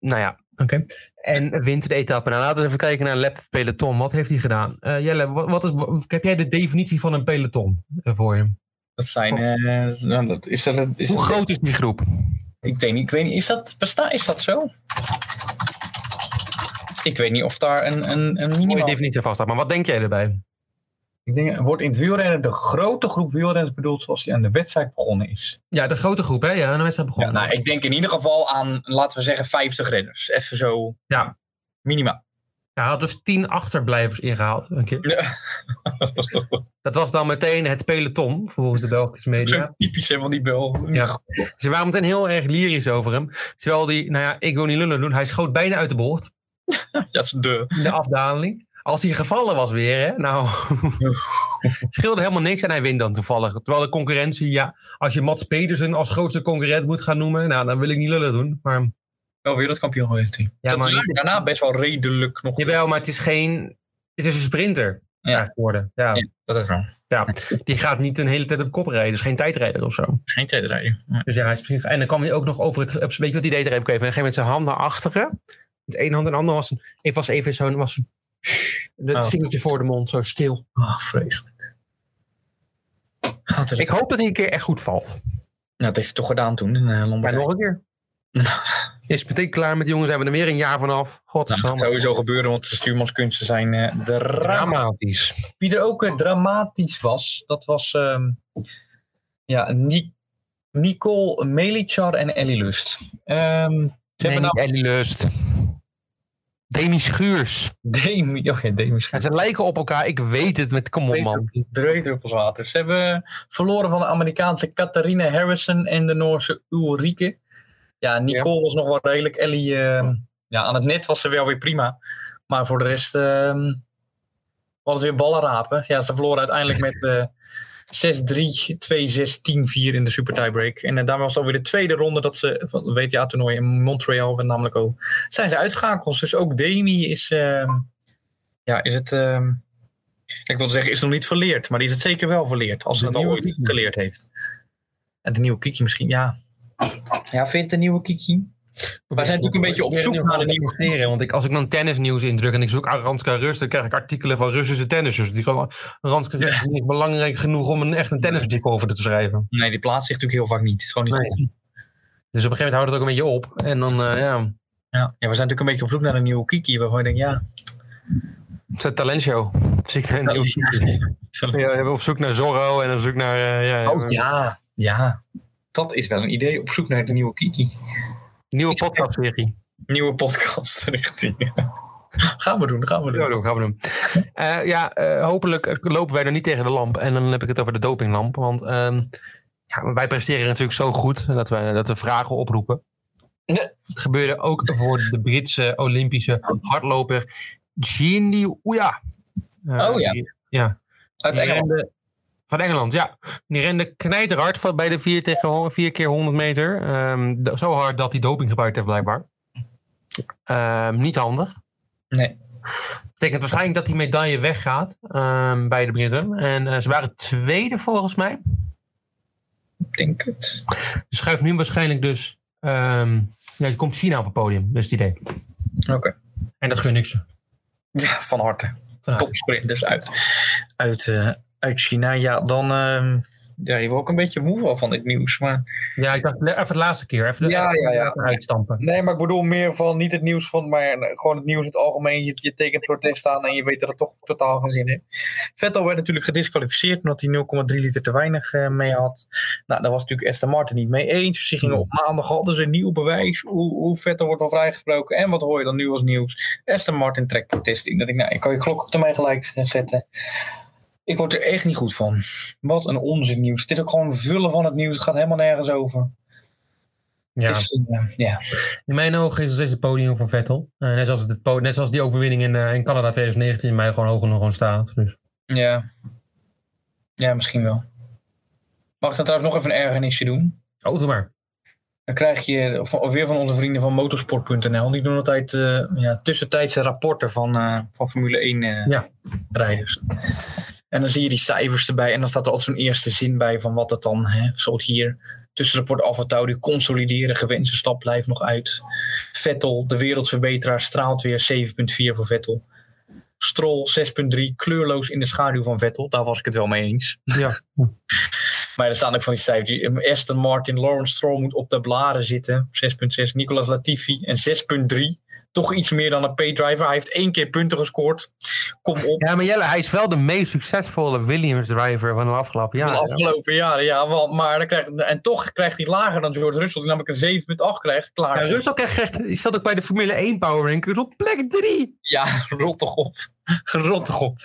A: Nou ja, oké. En wint de etappe. Nou, laten we even kijken naar lap peloton. Wat heeft hij gedaan? Eh, Jelle, wat, wat is, wat- heb jij de definitie van een peloton eh, voor je?
D: Dat zijn. eh, nou, dat, is dat, is
A: Hoe
D: dat-
A: groot is die groep?
D: Ik weet niet. Ik weet niet is, dat, besta, is dat zo? Ik weet niet of daar een, een, een
A: Mooie
D: minimaal...
A: definitie vast Maar wat denk jij erbij?
D: Ik denk, er wordt in het wielrennen de grote groep wielrenners bedoeld zoals die aan de wedstrijd begonnen is.
A: Ja, de grote groep, hè? Ja, een wedstrijd
D: Ja,
A: begonnen.
D: nou, ik denk in ieder geval aan, laten we zeggen, 50 renners. Even zo.
A: Ja.
D: Minimaal.
A: Hij had dus tien achterblijvers ingehaald. Een keer.
D: Ja.
A: Dat was dan meteen het peloton, volgens de Belgische media.
D: Zo typisch hè, van die bel.
A: Ja. Ze waren meteen heel erg lyrisch over hem. Terwijl die, nou ja, ik wil niet lullen doen, hij schoot bijna uit de boord
D: Ja, de.
A: in de afdaling. Als hij gevallen was weer, hè, nou, scheelde helemaal niks en hij wint dan toevallig. Terwijl de concurrentie, ja, als je Mats Pedersen als grootste concurrent moet gaan noemen, nou, dan wil ik niet lullen doen. Maar,
D: Wel wereldkampioen geweest. hij.
A: ja,
D: dat
A: maar,
D: is daarna best wel redelijk nog.
A: jawel, maar het is geen, het is een sprinter
D: Ja.
A: ja. geworden. Ja,
D: Ja. Dat is wel.
A: Die gaat niet een hele tijd op kop rijden, dus geen tijdrijder of zo.
D: Geen tweede rijden.
A: Dus ja, hij is misschien... En dan kwam hij ook nog over het... Weet je wat die deed er even? Op een gegeven moment zijn hand naar achteren. Met één hand en de andere was... Een, ik was even zo'n... Was een, het
D: Oh.
A: vingertje voor de mond, zo stil.
D: Ah, vreselijk. Had er,
A: Ik hoop dat hij een keer echt goed valt.
D: nou, dat is toch gedaan toen in eh,
A: Maar
D: Lombardije.
A: nog een keer. Is meteen klaar met die jongens, zijn we er weer een jaar vanaf.
D: Nou, dat gaat
A: Godsamme.
D: sowieso gebeuren, want de stuurmanskunsten zijn eh drama.
A: Dramatisch.
D: Wie er ook eh, dramatisch was, dat was ehm, ja, Ni- Nicole Melichar en Ellie Lust. Ehm, ze
A: Nee,
D: hebben nou...
A: niet Ellie Lust. Demi Schuurs.
D: Demi, oh ja, Demi Schuurs.
A: En ze lijken op elkaar, ik weet het. Met, kom op, man.
D: Drie druppels water. Ze hebben verloren van de Amerikaanse Catharina Harrison en de Noorse Ulrike. Ja, Nicole was nog wel redelijk. Ellie, eh, ja, aan het net was ze wel weer prima. Maar voor de rest ehm was het weer ballen rapen. Ja, ze verloren uiteindelijk met eh 6-3, 2-6, 10-4 in de super tiebreak. En eh, daar was alweer de tweede ronde dat ze van het WTA-toernooi in Montreal, met namelijk ook, zijn ze uitschakeld. Dus ook Demi is, ehm, ja, is het... ehm, ik wil zeggen, is nog niet verleerd, maar die is het zeker wel verleerd. Als ze
A: De
D: het al
A: nieuwe
D: ooit
A: Kiki.
D: geleerd heeft. En de nieuwe Kiki misschien, ja. Ja, vind je het een nieuwe Kiki? Wij zijn natuurlijk een beetje op
A: Ik
D: zoek
A: ben
D: naar een
A: heel
D: nieuwe-
A: interesseren, Want ik, als ik dan tennisnieuws indruk en ik zoek aan Ranska Rust, dan krijg ik artikelen van Russische tennissers. Die gewoon, Ranska Rust is niet belangrijk genoeg om een, echt een tennisartikel over te schrijven.
D: Nee, die plaatst zich natuurlijk heel vaak niet. Het is gewoon niet
A: Nee.
D: goed.
A: Dus op een gegeven moment houdt het ook een beetje op. En dan, eh, ja,
D: Ja. ja, we zijn natuurlijk een beetje op zoek naar een nieuwe Kiki. Waarvan je denkt, ja,
A: het is een talentshow. Zie ik een nieuw- ja, we hebben op zoek naar Zorro en op zoek naar... eh, ja,
D: Oh ja, ja. Dat is wel een idee. Op zoek naar de nieuwe Kiki.
A: Nieuwe podcastserie.
D: Nieuwe podcast richting. gaan we doen, gaan we
A: Ja,
D: doen.
A: dat gaan we doen. Eh, ja, eh, hopelijk lopen wij er niet tegen de lamp. En dan heb ik het over de dopinglamp. Want ehm, ja, wij presteren natuurlijk zo goed dat we, dat we vragen oproepen. Het gebeurde ook voor de Britse Olympische hardloper Gini Oeja. Eh,
D: Oh ja.
A: die-
D: Uit
A: die
D: Engeland.
A: rende- van Engeland, ja. Die rende knijterhard van- bij de 4 tegen 4 keer 100 meter. Ehm, d- zo hard dat hij doping gebruikt heeft, blijkbaar. Ehm, niet handig
D: Nee.
A: betekent waarschijnlijk dat die medaille weggaat ehm, bij de Britten. En eh, ze waren tweede volgens mij.
D: Ik denk het.
A: Dus schuift nu waarschijnlijk dus. ehm nee, er komt China op het podium, dat is het idee.
D: Oké.
A: En dat gun ik ze.
D: Ja, van harte.
A: Van harte.
D: Topsprinters uit, uit, eh, uit China. Ja, dan. ehm, ja, je wordt ook een beetje moe van, van dit nieuws. Maar...
A: Ja, ik dacht le- even de laatste keer. Even de,
D: Ja, ja, ja.
A: uitstampen.
D: Nee, maar ik bedoel meer van niet het nieuws van, maar gewoon het nieuws in het algemeen. Je, je tekent protest aan en je weet dat het toch totaal geen zin heeft. Vettel werd natuurlijk gedisqualificeerd omdat hij 0,3 liter te weinig eh, mee had. Nou, daar was natuurlijk Aston Martin niet mee eens. Ze gingen op maandag hadden ze een nieuw bewijs hoe, hoe Vettel wordt al vrijgesproken. En wat hoor je dan nu als nieuws? Aston Martin trekt protest in. Dat ik, nou, ik kan je klok op mij gelijk zetten. Ik word er echt niet goed van. Wat een onzin nieuws. Dit is ook gewoon vullen van het nieuws. Het gaat helemaal nergens over.
A: Ja.
D: Het is, eh, ja.
A: In mijn ogen is het steeds het podium van Vettel. Eh, net, zoals het het po- net zoals die overwinning in, eh, in Canada 2019 in mij gewoon hoger nog gewoon staat. Dus.
D: Ja. Ja, misschien wel. Mag ik dan trouwens nog even een ergernisje doen?
A: Oh, doe maar.
D: Dan krijg je van, weer van onze vrienden van motorsport.nl. Die doen altijd eh, ja, tussentijdse rapporten van, eh, van Formule 1 eh,
A: Ja.
D: rijders. En dan zie je die cijfers erbij. En dan staat er altijd zo'n eerste zin bij van wat het dan... Hè, zoals hier, tussenrapport Alfa Tauri consolideren. Gewenste stap blijft nog uit. Vettel, de wereldverbeteraar, straalt weer 7,4 voor Vettel. Stroll 6,3, kleurloos in de schaduw van Vettel. Daar was ik het wel mee eens.
A: Ja.
D: Maar er staan ook van die cijfers. Aston Martin, Lawrence Stroll moet op de blaren zitten. 6,6. Nicolas Latifi en 6,3. Toch iets meer dan een P-driver. Hij heeft één keer punten gescoord. Kom op.
A: ja, maar Jelle, hij is wel de meest succesvolle Williams-driver van de afgelopen
D: van
A: jaren.
D: de afgelopen jaren, ja. Want, maar dan krijgt, en toch krijgt hij lager dan George Russell, die namelijk een 7,8 krijgt. Klaar.
A: Ja, Russell krijgt, echt- zat ook bij de Formule 1 Power Rankings op plek 3.
D: Ja, rot toch op. Rot toch op.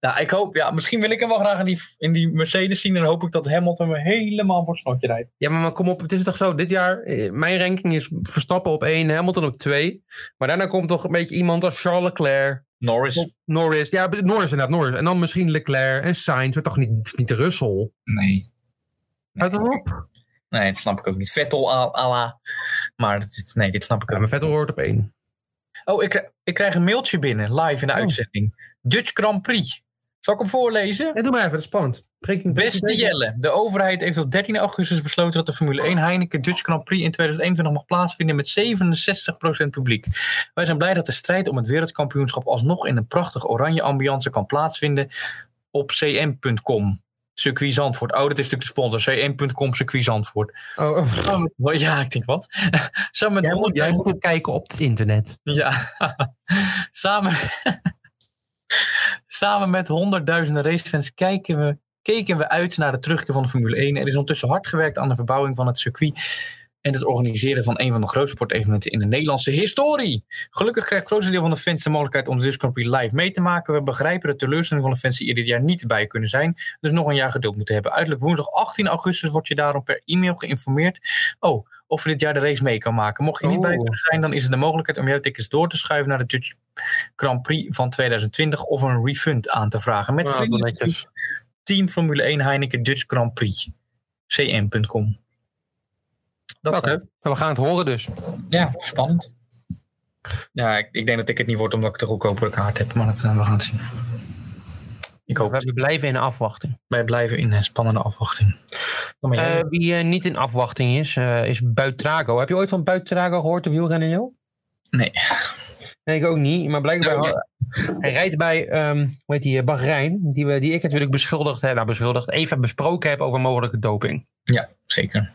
D: Nou, ik hoop, ja, misschien wil ik hem wel graag in die, in die Mercedes zien. En dan hoop ik dat Hamilton me helemaal voor het snotje rijdt.
A: Ja, maar, maar kom op, het is toch zo, dit jaar, eh, mijn ranking is Verstappen op 1, Hamilton op 2. Maar daarna komt toch een beetje iemand als Charles Leclerc,
D: Norris.
A: Norris. Ja, Norris inderdaad, Norris. En dan misschien Leclerc en Sainz, maar toch niet, niet Russell.
D: Nee.
A: Houd erop.
D: Nee, dat snap ik ook niet. Vettel à à la. Maar dat is- nee, dit snap ik
A: Ja,
D: ook
A: maar
D: niet.
A: Vettel hoort op 1.
D: Oh, ik, kri- ik krijg een mailtje binnen, live in de uitzending. Dutch Grand Prix. Zal ik hem voorlezen?
A: Ja, doe maar even, dat is spannend. Breaking-
D: Beste Jelle, de overheid heeft op 13 augustus besloten dat de Formule 1 Heineken Dutch Grand Prix in 2021 mag plaatsvinden met 67% publiek. Wij zijn blij dat de strijd om het wereldkampioenschap alsnog in een prachtige oranje ambiance kan plaatsvinden op cm.com. Circuit Zandvoort. Oh, dat is natuurlijk de sponsor. cm.com Circuit Zandvoort.
A: Oh, oh.
D: Oh, ja, ik denk wat. Samen met
A: Jij, moet,
D: 100
A: jij moet ook kijken op het internet.
D: Ja. Samen, samen met honderdduizenden racefans kijken we, keken we uit naar de terugkeer van de Formule 1. Er is ondertussen hard gewerkt aan de verbouwing van het circuit. En het organiseren van een van de grootste sportevenementen in de Nederlandse historie. Gelukkig krijgt het grootste deel van de fans de mogelijkheid om de Dutch Grand Prix live mee te maken. We begrijpen de teleurstelling van de fans die er dit jaar niet bij kunnen zijn. Dus nog een jaar geduld moeten hebben. Uiterlijk woensdag 18 augustus word je daarom per e-mail geïnformeerd. Oh, of je dit jaar de race mee kan maken. Mocht je niet bij
A: Oh.
D: kunnen zijn, dan is er de mogelijkheid om jouw tickets door te schuiven naar de Dutch Grand Prix van 2020 of een refund aan te vragen. Met
A: Ah,
D: vriendelijk
A: netjes.
D: Team Formule 1 Heineken Dutch Grand Prix. cm.com. Dat eh,
A: Oké, Nou, we gaan het horen dus.
D: Ja, spannend. Ja, ik, ik denk dat ik het niet word omdat ik de goedkopere kaart heb, maar dat, eh, we gaan het zien. Ik hoop het.
A: We blijven in afwachting.
D: Wij blijven in eh, spannende afwachting. Dan ben jij-
A: Eh, wie eh, niet in afwachting is, eh, is Buitrago. Heb je ooit van Buitrago gehoord, de wielrenner Jel?
D: Nee.
A: Nee, ik ook niet. Maar blijkbaar... Hij rijdt bij, ehm hoe heet die, eh, Bahrein. Die, we, die ik natuurlijk beschuldigd, hè, nou beschuldigd, even besproken heb over mogelijke doping.
D: ja, zeker.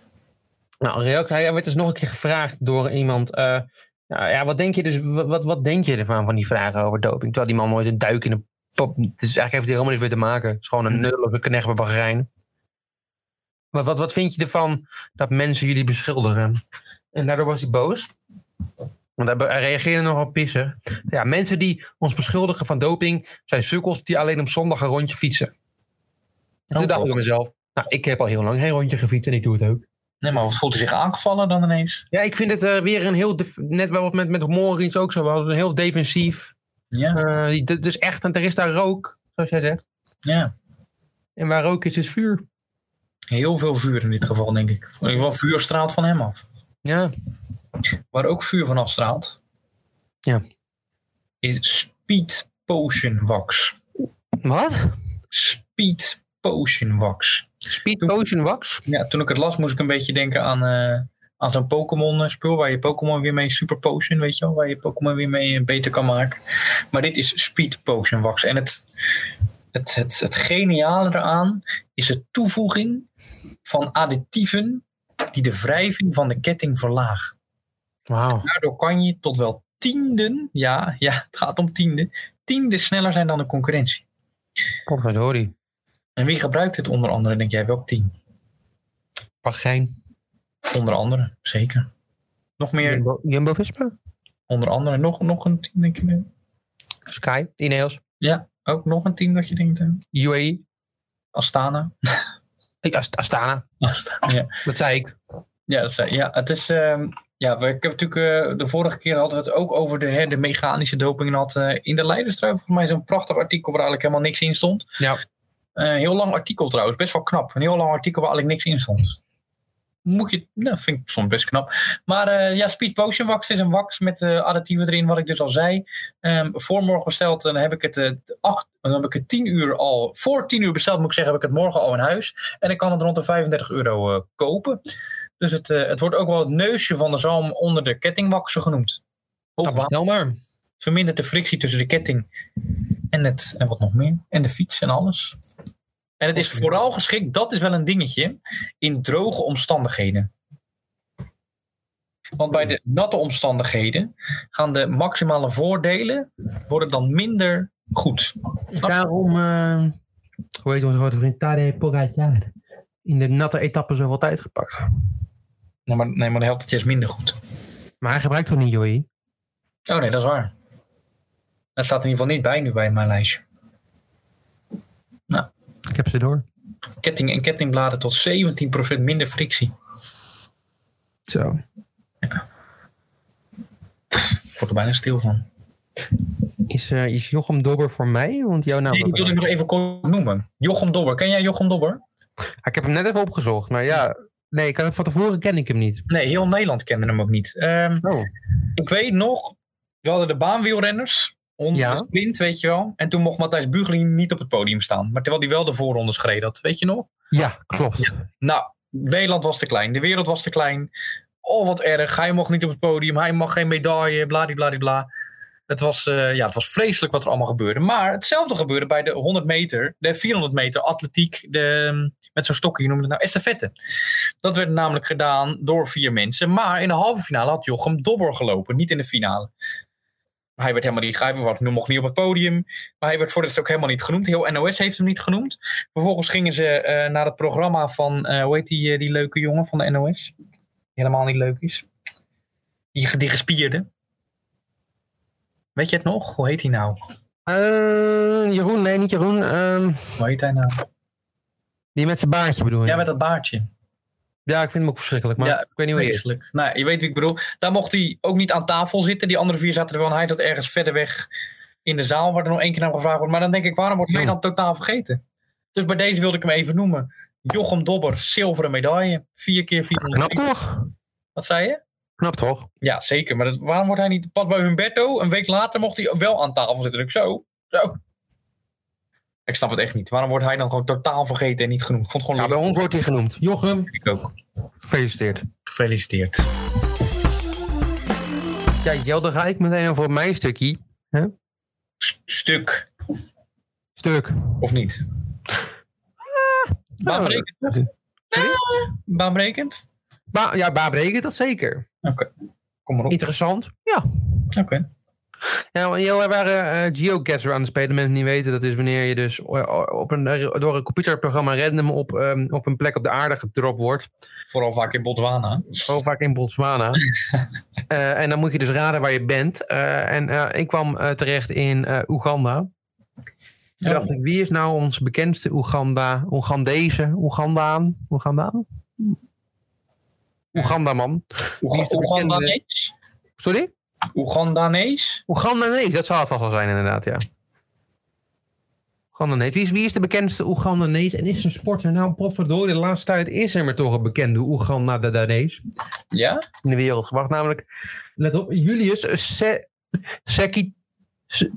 A: Nou, Rielke, hij werd dus nog een keer gevraagd door iemand. eh, nou ja, wat denk je dus, wat, wat, wat denk je ervan van die vragen over doping? Terwijl die man nooit een duik in de pop. Het is eigenlijk heeft hij helemaal niks mee te maken. Het is gewoon een
D: Hmm.
A: nullige knecht bij Bahrein. Maar wat, wat vind je ervan dat mensen jullie beschuldigen? En daardoor was hij boos. Want hij be- hij reageerde nogal pissen. Ja, mensen die ons beschuldigen van doping zijn sukkels die alleen op zondag een rondje fietsen. En toen
D: Oh,
A: dacht ik
D: God.
A: bij mezelf, nou, ik heb al heel lang geen rondje gefietst en ik doe het ook.
D: Nee, maar voelt hij zich aangevallen dan ineens?
A: Ja, ik vind het eh, weer een heel. def- Net wel wat met, met Morins ook zo. was, Een heel defensief.
D: Ja,
A: Eh, die- d- dus echt, en er is daar rook, zoals jij zegt.
D: ja.
A: En waar rook is, is vuur.
D: Heel veel vuur in dit geval, denk ik. In ieder geval vuur straalt van hem af.
A: Ja.
D: Waar ook vuur van afstraalt.
A: Ja.
D: Is speed potion wax.
A: Wat?
D: Speed Potion Wax.
A: Speed Potion Wax?
D: Ja, toen ik het las, moest ik een beetje denken aan, eh, aan zo'n Pokémon-spul waar je Pokémon weer mee super potion, weet je wel, waar je Pokémon weer mee eh, beter kan maken. Maar dit is Speed Potion Wax. En het, het, het, het geniale eraan is de toevoeging van additieven die de wrijving van de ketting verlagen.
A: Wauw.
D: Daardoor kan je tot wel tienden, ja, ja het gaat om tienden, tienden sneller zijn dan de concurrentie.
A: Komt uit Hori.
D: En wie gebruikt dit onder andere, denk jij? Welk team?
A: Pagijn.
D: Onder andere, zeker. Nog meer,
A: Jumbo, Jumbo Vispa?
D: onder andere, nog, nog een team, denk je?
A: Sky? Ineos?
D: Ja, ook nog een team dat je denkt, eh,
A: UAE?
D: Astana.
A: Eh, Ast- Astana.
D: Astana, ja.
A: Dat zei ik.
D: Ja, dat zei, ja, het is. ehm, ja, we- ik heb natuurlijk. eh, de vorige keer hadden we het ook over de, hè, de mechanische doping. En had eh, in de Leiderstrui volgens mij zo'n prachtig artikel waar eigenlijk helemaal niks in stond.
A: Ja.
D: Eh, heel lang artikel trouwens, best wel knap. Een heel lang artikel waar eigenlijk niks in stond. Moet je. Nou, vind ik soms best knap. Maar eh, ja, Speed Potion Wax is een wax met eh, additieven erin, wat ik dus al zei. Ehm voor morgen besteld, dan heb ik het eh, acht, dan heb ik het 10 uur al. Voor 10 uur besteld, moet ik zeggen, heb ik het morgen al in huis. En ik kan het rond de 35 euro eh, kopen. Dus het, eh, het wordt ook wel het neusje van de zalm onder de kettingwaksen genoemd.
A: Nou,
D: Of
A: bestel maar.
D: vermindert de frictie tussen de ketting en het, en wat nog meer, en de fiets en alles. En het is vooral geschikt, dat is wel een dingetje, in droge omstandigheden. Want bij de natte omstandigheden gaan de maximale voordelen worden dan minder goed.
A: Daarom, eh, hoe heet onze grote vriend Tadej Pogacar? In de natte etappe zoveel tijd gepakt.
D: Nee, maar, nee, maar de helft het is minder goed.
A: Maar hij gebruikt toch niet E? UAE?
D: Oh nee, dat is waar. Dat staat in ieder geval niet bij nu bij mijn lijstje.
A: Ik heb ze door.
D: Ketting en kettingbladen tot 17% minder frictie.
A: Zo.
D: Ik word er bijna stil van.
A: Is, eh, is Jochem Dobber voor mij? Want jouw naam...
D: Nee, die wilde ik nog even kort noemen. Jochem Dobber. Ken jij Jochem Dobber?
A: Ah, ik heb hem net even opgezocht, maar ja... Nee, ik had, van tevoren ken ik hem niet.
D: Nee, heel Nederland kende hem ook niet. Ehm,
A: Oh.
D: ik weet nog, we hadden de baanwielrenners. Onder
A: Ja.
D: de sprint, weet je wel. En toen mocht Matthijs Bugelin niet op het podium staan. Maar terwijl hij wel de voorrondes gereden had, weet je nog?
A: Ja, klopt.
D: Nou, Nederland was te klein. De wereld was te klein. Oh, wat erg. Hij mocht niet op het podium. Hij mag geen medaille. Bladibladibla. Het was, eh, ja, het was vreselijk wat er allemaal gebeurde. Maar hetzelfde gebeurde bij de 100 meter, de 400 meter atletiek. De, ehm, met zo'n stokje, je noemde het nou estafette. Dat werd namelijk gedaan door vier mensen. Maar in de halve finale had Jochem Dobber gelopen. Niet in de finale. Hij werd helemaal niet, hij was- mocht niet op het podium. Maar hij werd voor dit ook helemaal niet genoemd. Heel NOS heeft hem niet genoemd. Vervolgens gingen ze eh, naar het programma van, eh, hoe heet die, eh, die leuke jongen van de NOS? Die helemaal niet leuk is. Die, ge- die gespierde. Weet je het nog? Hoe heet hij nou?
A: Eh, Jeroen, nee, niet Jeroen. ehm,
D: Hoe heet hij nou?
A: die met zijn baardje bedoel je?
D: Ja, met dat baardje.
A: Ja, ik vind hem ook verschrikkelijk, maar
D: Ja,
A: ik weet niet hoe hij is.
D: Vreselijk. Nou, je weet wie ik bedoel. Daar mocht hij ook niet aan tafel zitten. Die andere vier zaten er wel. En hij dat ergens verder weg in de zaal, waar er nog één keer naar gevraagd wordt. Maar dan denk ik, waarom wordt hij
A: Ja.
D: dan totaal vergeten? Dus bij deze wilde ik hem even noemen. Jochem Dobber, zilveren medaille. Vier keer
A: Knap
D: 400.
A: toch?
D: Wat zei je?
A: Knap toch?
D: Ja, zeker. Maar dat, waarom wordt hij niet... Pas bij Humberto, een week later mocht hij wel aan tafel zitten. Ik zo, zo. Ik snap het echt niet. Waarom wordt hij dan gewoon totaal vergeten en niet genoemd? Ik vond het
A: Ja,
D: gewoon
A: bij ons wordt hij genoemd. Jochem,
D: leuk. ook.
A: gefeliciteerd.
D: Gefeliciteerd.
A: Ja, Jelde ga ik meteen over op mijn stukje.
D: S- stuk,
A: Stuk.
D: of niet?
A: Ah, nou,
D: Baanbrekend.
A: Sorry?
D: Baanbrekend?
A: Ba ja, baanbrekend, dat zeker.
D: Oké. Kom maar op.
A: Interessant. Ja.
D: Oké.
A: ja want Jelde waren uh, geocacher aan het spelen. Mensen die weten, dat is wanneer je dus eh, op een, door een computerprogramma random op, ehm, op een plek op de aarde gedropt wordt.
D: Vooral vaak in Botswana.
A: Ook vaak in Botswana. Eh, en dan moet je dus raden waar je bent. Eh, en eh, ik kwam eh, terecht in eh, Oeganda. Toen dacht ik, wie is nou ons bekendste Oeganda, Oegandese, Oegandaan, Oegandaan? Oegandaman. Wie is de bekende-
D: Oegandanees?
A: Sorry?
D: Oegandanees?
A: Oegandanees, dat zal het vast wel zijn inderdaad, ja. Oegandanees. Wie is, wie is de bekendste Oegandanees en is een sporter? Nou, potverdorie, de laatste tijd is er maar toch een bekende Oegandanees
D: Ja?
A: in de wereld gebracht. Namelijk, let op, Julius Se Seki... Se-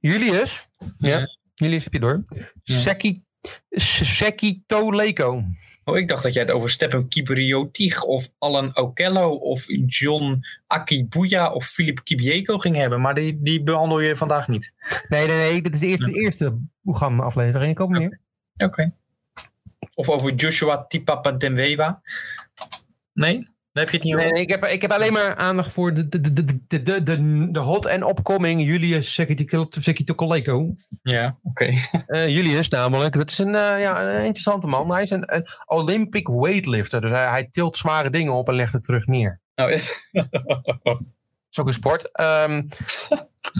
A: Julius?
D: Ja.
A: Julius heb je door. Seki Seki Toleko.
D: Oh, ik dacht dat jij het over Stepan Kibriotig of Alan Okello of John Akibuya of Philip Kibieko ging hebben. Maar die, die behandel je vandaag niet.
A: Nee, nee, nee. Dit is de eerste, eerste Boegan-aflevering. Ik hoop niet.
D: Oké. Of over Joshua Tipapadenwewa. Nee? Daar heb je het niet
A: Nee,
D: over.
A: nee, ik, heb, ik heb alleen maar aandacht voor de, de, de, de, de, de, de, de hot en opkoming Julius Sekitokoleko.
D: Ja, oké.
A: Eh Julius namelijk, dat is een, eh, ja, een interessante man. Hij is een, een Olympic weightlifter, dus hij, hij tilt zware dingen op en legt het terug neer.
D: Nou, Oh,
A: Dat is ook een sport. Ehm,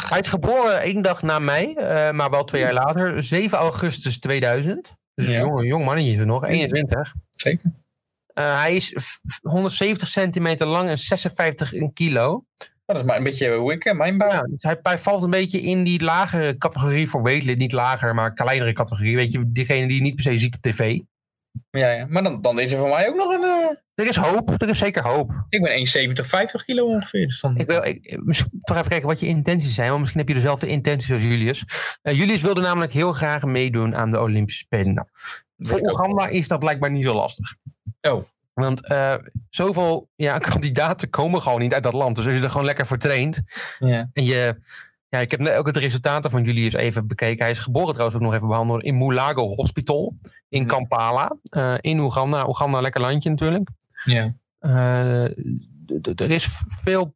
A: hij is geboren één dag na mij, eh, maar wel twee jaar later, 7 augustus 2000. Dus
D: Ja.
A: een jong, een jong mannetje is er nog, 21.
D: Zeker.
A: Eh, hij is v- v- 170 centimeter lang en 56 in kilo.
D: dat is maar een beetje wikken, mijn bouw.
A: Ja, dus hij, hij valt een beetje in die lagere categorie voor weightlid. Niet lager, maar kleinere categorie. Weet je, diegene die je niet per se ziet op tv.
D: Ja, ja. Maar dan, dan is er voor mij ook nog een... eh,
A: Er is hoop, er is zeker hoop.
D: ik ben 1,70, 50 kilo ongeveer. Dus dan-
A: Ik wil ik, ik- mis- toch even kijken wat je intenties zijn, want misschien heb je dezelfde intenties als Julius. Eh, Julius wilde namelijk heel graag meedoen aan de Olympische Spelen. Nou, voor
D: ik ook.
A: Oeganda is dat blijkbaar niet zo lastig.
D: Oh.
A: Want eh, zoveel ja, kandidaten komen gewoon niet uit dat land. Dus als je er gewoon lekker voor traint,
D: ja.
A: En je, ja, ik heb net ook het resultaten van Julius even bekeken. Hij is geboren trouwens ook nog even behandeld in Mulago Hospital in
D: Ja.
A: Kampala. eh, in Oeganda. Oeganda, lekker landje natuurlijk.
D: ja.
A: Eh, d- d- er is veel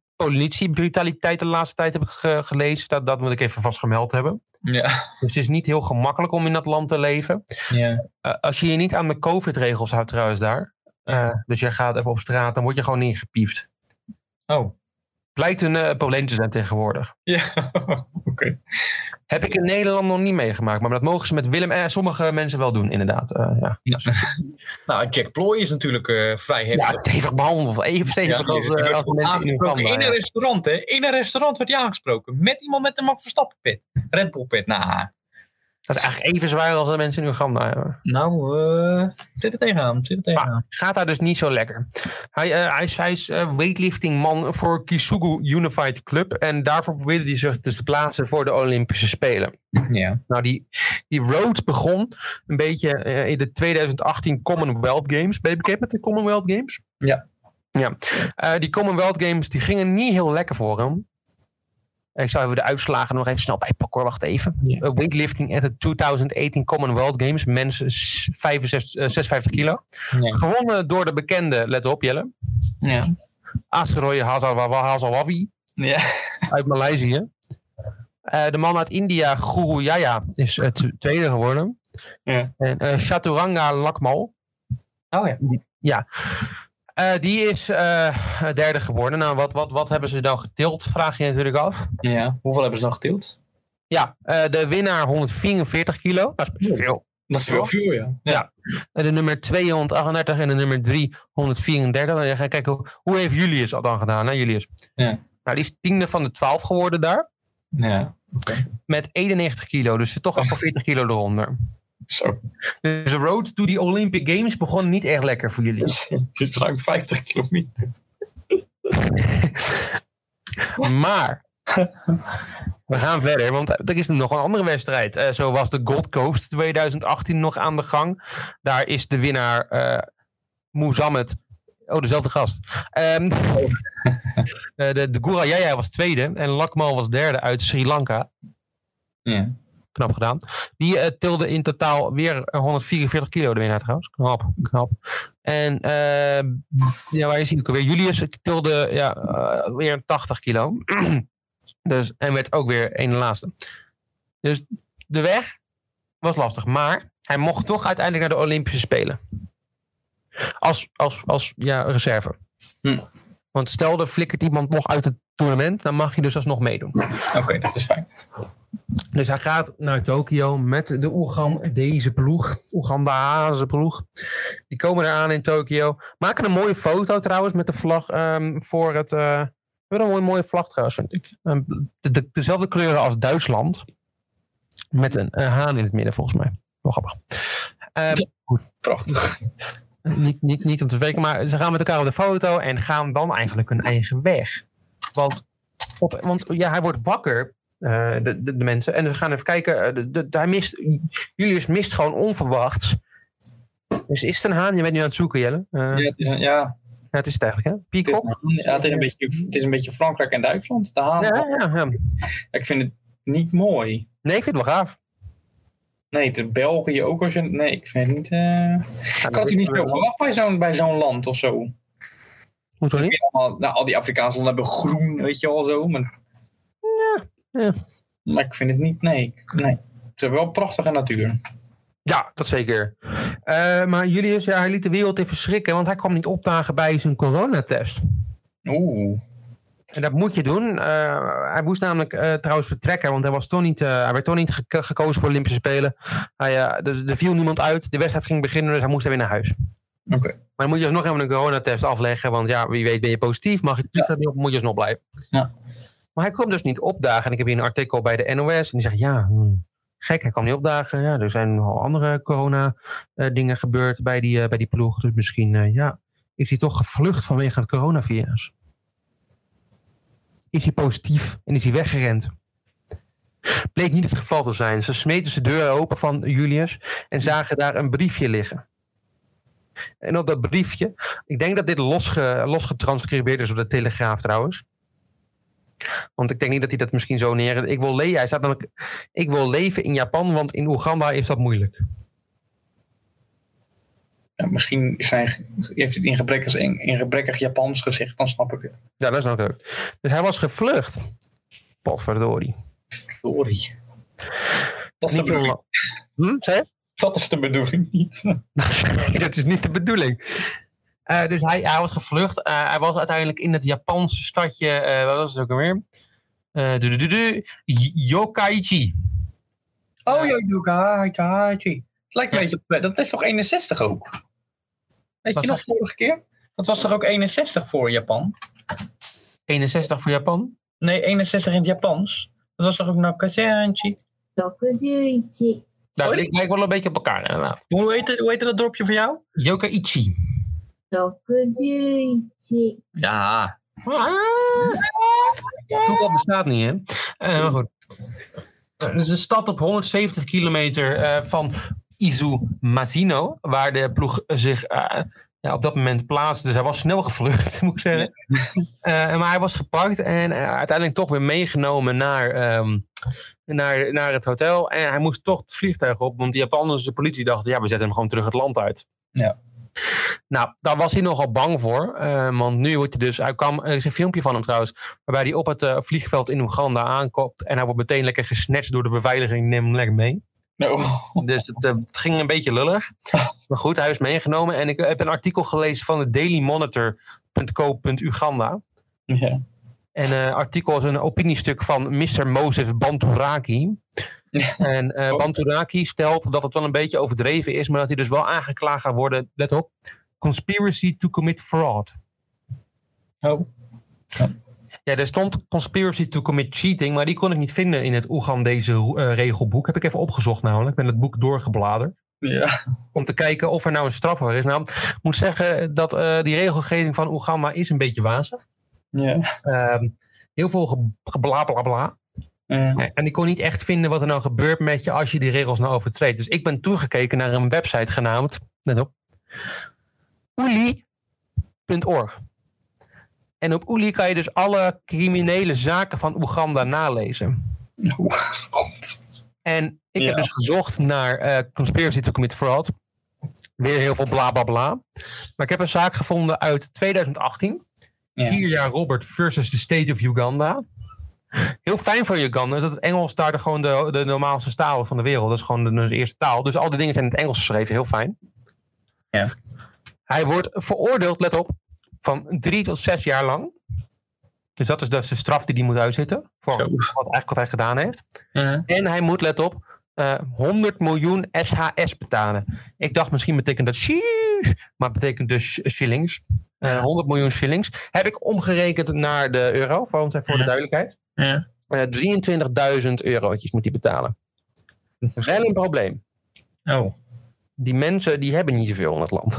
A: politiebrutaliteit de laatste tijd heb ik ge- gelezen. Dat, dat moet ik even vast gemeld hebben.
D: Ja.
A: Dus het is niet heel gemakkelijk om in dat land te leven.
D: Ja.
A: Eh, als je je niet aan de COVID-regels houdt trouwens daar. eh, dus je gaat even op straat, dan word je gewoon neergepiept.
D: Oh.
A: Blijkt een eh, probleem te zijn tegenwoordig.
D: Ja. oké.
A: Heb ik in Nederland nog niet meegemaakt. Maar dat mogen ze met Willem en sommige mensen wel doen, inderdaad. Eh, ja.
D: Ja. Nou, Jack Ploy is natuurlijk eh, vrij
A: ja,
D: heftig.
A: stevig behandeld. Even
D: Ja,
A: stevig
D: die-
A: als,
D: die eh,
A: eh,
D: werd
A: als de
D: gewoon
A: mensen in
D: aangesproken
A: Oeganda.
D: in een
A: ja.
D: restaurant, hè? In een restaurant werd hij aangesproken. Met iemand met een Max Verstappen pit. Red Bull pit. Nou,
A: Dat is eigenlijk even zwaar als de mensen in Oeganda. ja.
D: nou eh, zit er tegenaan. Zit er tegenaan.
A: Gaat daar dus niet zo lekker. Hij, eh, hij is, hij is eh, weightliftingman voor Kisugu Unified Club. En daarvoor probeerde hij zich dus te plaatsen voor de Olympische Spelen.
D: Ja.
A: Nou, die, die road begon een beetje eh, in de 2018 Commonwealth Games. Ben je bekend met de Commonwealth Games?
D: Ja.
A: ja. Eh, die Commonwealth Games die gingen niet heel lekker voor hem. Ik zal even de uitslagen nog even snel bijpakken. hoor. Wacht even.
D: Ja.
A: Eh, Weightlifting at the 2018 Commonwealth Games. Mensen s- 65, eh, 56 kilo.
D: Ja.
A: Gewonnen door de bekende, let op Jelle.
D: Ja.
A: Asroy Hazawa- Hazawawi
D: Ja.
A: uit Maleisië. Eh, de man uit India, Guru Yaya, is het tweede geworden.
D: Ja.
A: En eh, Chaturanga Lakmal,
D: Oh ja.
A: eh, die is eh, derde geworden. Nou, wat, wat, wat hebben ze dan getild, vraag je je natuurlijk af.
D: ja. Hoeveel hebben ze dan geteeld?
A: Ja, eh, de winnaar 144 kilo, dat is best veel.
D: Dat is
A: wel
D: veel, ja.
A: En de nummer 238 en de nummer 334. Dan ga je kijken, hoe, hoe heeft Julius dat dan gedaan, hè Julius?
D: Ja.
A: Nou, die is tiende van de 12 geworden daar,
D: Ja.
A: met 91 kilo. Dus toch
D: Oh.
A: al 40 kilo eronder.
D: Zo.
A: Dus de road to the Olympic Games begon niet echt lekker voor jullie.
D: Het is ruim 50 kilometer.
A: Maar we gaan verder, want er is nog een andere wedstrijd. Eh, zo was de Gold Coast 2018 nog aan de gang. Daar is de winnaar eh Moesammed. Oh, dezelfde gast. Ehm, eh, de de Gourayaya was tweede en Lakmal was derde uit Sri Lanka.
D: Ja.
A: Knap gedaan. Die eh, tilde in totaal weer 144 kilo de winnaar trouwens. Knap, knap. En eh, ja, waar is hij ook alweer? Julius tilde ja, eh, weer 80 kilo. dus, en werd ook weer één de laatste. Dus de weg was lastig. Maar hij mocht toch uiteindelijk naar de Olympische Spelen. Als, als, als ja, reserve.
D: Hm.
A: Want stel er flikkert iemand nog uit het toernooi, dan mag je dus alsnog meedoen.
D: Oké, dat is fijn.
A: Dus hij gaat naar Tokio met de Oegan, deze ploeg. Oegandese ploeg. Die komen eraan in Tokio. Maken een mooie foto trouwens met de vlag ehm, voor het... eh wel een mooie, mooie vlag trouwens, vind ik. Ehm, de, de- dezelfde kleuren als Duitsland. Met een, eh, haan in het midden, volgens mij. Wel grappig. Ehm,
D: Prachtig.
A: niet, niet, niet om te verweken, maar ze gaan met elkaar op de foto en gaan dan eigenlijk hun eigen weg. Want, op, want ja, hij wordt wakker. Eh, eh, de, de, de mensen. En we gaan even kijken. eh, de, de, daar mist, Julius mist gewoon onverwachts. Dus is het een haan? Je bent nu aan het zoeken, Jelle. Eh, ja.
D: Ja, het is een, ja,
A: het is het eigenlijk, hè?
D: het is,
A: Peacock?
D: een- ja, het is een beetje, het is een beetje Frankrijk en Duitsland. De haan.
A: Ja, ja, ja.
D: Ik vind het niet mooi.
A: Nee, ik vind het wel gaaf.
D: Nee, het is België ook als je. Nee, ik vind het niet. eh,
A: Ja,
D: Ik had het niet zo verwacht bij zo'n bij zo'n land of zo.
A: Hoezo niet?
D: Allemaal, nou, al die Afrikaanse landen hebben groen, weet je wel zo. Maar,
A: ja.
D: maar ik vind het niet. Nee, ik- nee. Ze hebben wel prachtige natuur.
A: Ja, dat zeker. Eh, maar Julius, ja, hij liet de wereld even schrikken, want hij kwam niet opdagen bij zijn coronatest.
D: Oeh.
A: En dat moet je doen. Eh, hij moest namelijk eh, trouwens vertrekken, want hij, was toch niet, eh, hij werd toch niet gek- gekozen voor de Olympische Spelen. Hij, eh, dus er viel niemand uit, de wedstrijd ging beginnen, dus hij moest er weer naar huis.
D: Oké.
A: Maar dan moet je alsnog even een coronatest afleggen, want ja, wie weet ben je positief, mag je het vliegtuig niet op, moet je alsnog blijven.
D: Ja.
A: Maar hij kwam dus niet opdagen. En ik heb hier een artikel bij de NOS en die zegt, ja, hmm, gek, hij kwam niet opdagen. Ja, er zijn nogal andere corona-dingen gebeurd bij die, eh, bij die ploeg, dus misschien, eh, ja, is hij toch gevlucht vanwege het coronavirus is hij positief en is hij weggerend. Bleek niet het geval te zijn. Ze smeten de deur open van Julius en zagen daar een briefje liggen. En op dat briefje, ik denk dat dit losge, losgetranscribeerd is op de Telegraaf trouwens. Want ik denk niet dat hij dat misschien zo neer... Ik wil, le- hij staat namelijk, ik wil leven in Japan, want in Oeganda is dat moeilijk.
D: Ja, misschien zijn, heeft het in gebrekkig, in, in gebrekkig Japans gezegd, dan snap ik het.
A: Ja, dat is nou leuk. Dus hij was gevlucht. Potverdorie.
D: Sorry. Dat is, de
A: Niet
D: bedoeling,
A: heel- Hm, zei je?
D: dat is de bedoeling niet.
A: Nee, dat is niet de bedoeling. Eh, dus hij, hij was gevlucht. Eh, hij was uiteindelijk in het Japanse stadje, eh, wat was het ook alweer? Eh, du- du- du- du- Y- Yokkaichi.
D: Oh, ja, Yuka, Het lijkt een beetje op. Dat is toch 61 ook? Weet
A: Wat
D: je nog vorige keer? Dat was toch ook 61 voor Japan?
A: 61 voor Japan.
D: Nee, 61 in het Japans. Dat was toch ook Nakazenchi?
B: 61、
A: Nou,
D: Oh,
A: ik lijk wel een beetje op elkaar inderdaad.
D: Hoe heette, hoe heette dat dorpje voor jou?
A: Yokkaichi.
B: 61、
D: Ja.
A: Toeval bestaat niet, hè? Eh, maar goed. Het is een stad op 170 kilometer eh, van Izumazino, waar de ploeg zich eh, ja, op dat moment plaatste. Dus hij was snel gevlucht, moet ik zeggen. Eh, maar hij was gepakt en eh, uiteindelijk toch weer meegenomen naar, ehm, naar, naar het hotel. En hij moest toch het vliegtuig op, want de Japanse politie dacht: ja, we zetten hem gewoon terug het land uit.
D: Ja.
A: Nou, daar was hij nogal bang voor. eh, want nu wordt hij dus. Hij kwam, er is een filmpje van hem trouwens waarbij hij op het eh, vliegveld in Oeganda aankomt. En hij wordt meteen lekker gesnatcht door de beveiliging. Neem hem lekker mee.
D: Oh.
A: Dus het, eh, het ging een beetje lullig. Maar goed, hij is meegenomen. En ik eh, heb een artikel gelezen van de dailymonitor.co.uganda.
D: Ja.
A: En eh artikel is een opiniestuk van Mr. Moses Banturaki.
D: Ja.
A: En eh
D: Oh.
A: Banturaki stelt dat het wel een beetje overdreven is, maar dat hij dus wel aangeklaagd gaat worden. Let op: conspiracy to commit fraud.
D: Oh.
A: Ja, er stond conspiracy to commit cheating, maar die kon ik niet vinden in het Oegandese eh, regelboek. Heb ik even opgezocht namelijk. Ik ben het boek doorgebladerd
D: Ja.
A: om te kijken of er nou een straf voor is. Nou, ik moet zeggen dat eh, die regelgeving van Oeganda is een beetje wazig.
D: Ja.
A: Ehm, heel veel ge- gebla bla bla.
D: Ja.
A: Eh, En ik kon niet echt vinden wat er nou gebeurt met je als je die regels nou overtreedt. Dus ik ben toegekeken naar een website genaamd, let op, oeli.org. En op Oeli kan je dus alle criminele zaken van Oeganda nalezen.
D: Oh, God.
A: En ik
D: Ja.
A: heb dus gezocht naar eh, conspiracy to commit fraud. Weer heel veel bla bla bla. Maar ik heb een zaak gevonden uit 2018.
D: Ja.
A: Vier jaar Robert versus the state of Uganda. Heel fijn voor Uganda is dat het Engels daar de, gewoon de, de normaalste taal is van de wereld. Dat is gewoon de, de eerste taal. Dus al die dingen zijn in het Engels geschreven. Heel fijn.
D: Ja.
A: Hij wordt veroordeeld, let op, van drie tot zes jaar lang. Dus dat is, dat is de straf die hij moet uitzitten. Voor
D: Zo.
A: wat, eigenlijk wat hij gedaan heeft.
D: Ja.
A: En hij moet, let op, eh, 100 miljoen SHS betalen. Ik dacht misschien betekent dat sheesh, maar het betekent dus sh- shillings. Eh, 100 miljoen shillings. Heb ik omgerekend naar de euro, voor, voor de
D: Ja.
A: duidelijkheid.
D: Ja.
A: Eh, 23.000 eurotjes moet hij betalen. Wel een probleem.
D: Oh.
A: Die mensen die hebben niet zoveel in het land.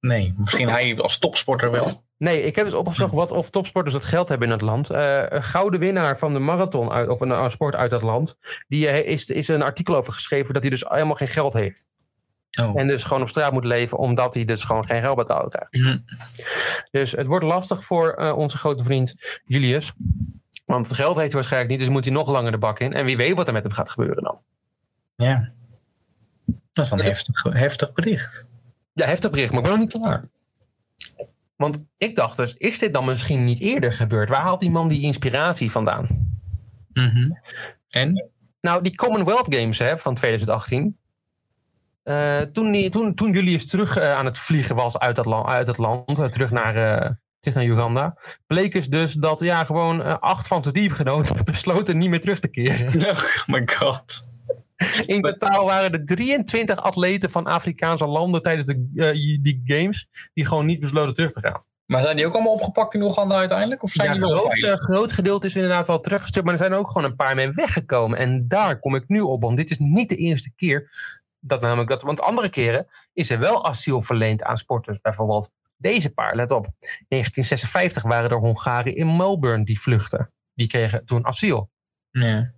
D: Nee, misschien hij als topsporter wel.
A: Nee, ik heb eens opgezocht wat of topsporters dat geld hebben in het land. Eh, een gouden winnaar van de marathon uit, of een, een sport uit dat land. Die eh, is, is een artikel over geschreven dat hij dus helemaal geen geld heeft.
D: Oh.
A: En dus gewoon op straat moet leven omdat hij dus gewoon geen geld betaald krijgt.
D: Mhm.
A: Dus het wordt lastig voor eh, onze grote vriend Julius. Want het geld heeft hij waarschijnlijk niet, dus moet hij nog langer de bak in. En wie weet wat er met hem gaat gebeuren dan.
D: Ja. Dat is een heftig, heftig bericht.
A: Ja, heftig bericht, maar ik ben nog niet klaar. Want ik dacht dus, is dit dan misschien niet eerder gebeurd? Waar haalt die man die inspiratie vandaan?
D: Mhm. En?
A: Nou, die Commonwealth Games hè, van 2018. Eh, toen, die, toen, toen Julius terug eh, aan het vliegen was uit dat, land, uit dat land, eh, terug, naar, eh, terug naar Uganda, bleek dus, dus dat ja, gewoon eh, acht van zijn teamgenoten besloten niet meer terug te keren.
D: Oh my god.
A: In totaal waren er 23 atleten van Afrikaanse landen tijdens de, eh, die games die gewoon niet besloten terug te gaan.
D: Maar zijn die ook allemaal opgepakt in Oeganda uiteindelijk? Of zijn
A: Ja,
D: die wel
A: groot,
D: veilig?
A: eh, groot gedeelte is inderdaad wel teruggestuurd, maar er zijn ook gewoon een paar mee weggekomen. En daar kom ik nu op, want dit is niet de eerste keer dat namelijk dat. Want andere keren is er wel asiel verleend aan sporters. Bijvoorbeeld deze paar, let op. In 1956 waren er Hongaren in Melbourne die vluchtten. Die kregen toen asiel.
D: Ja.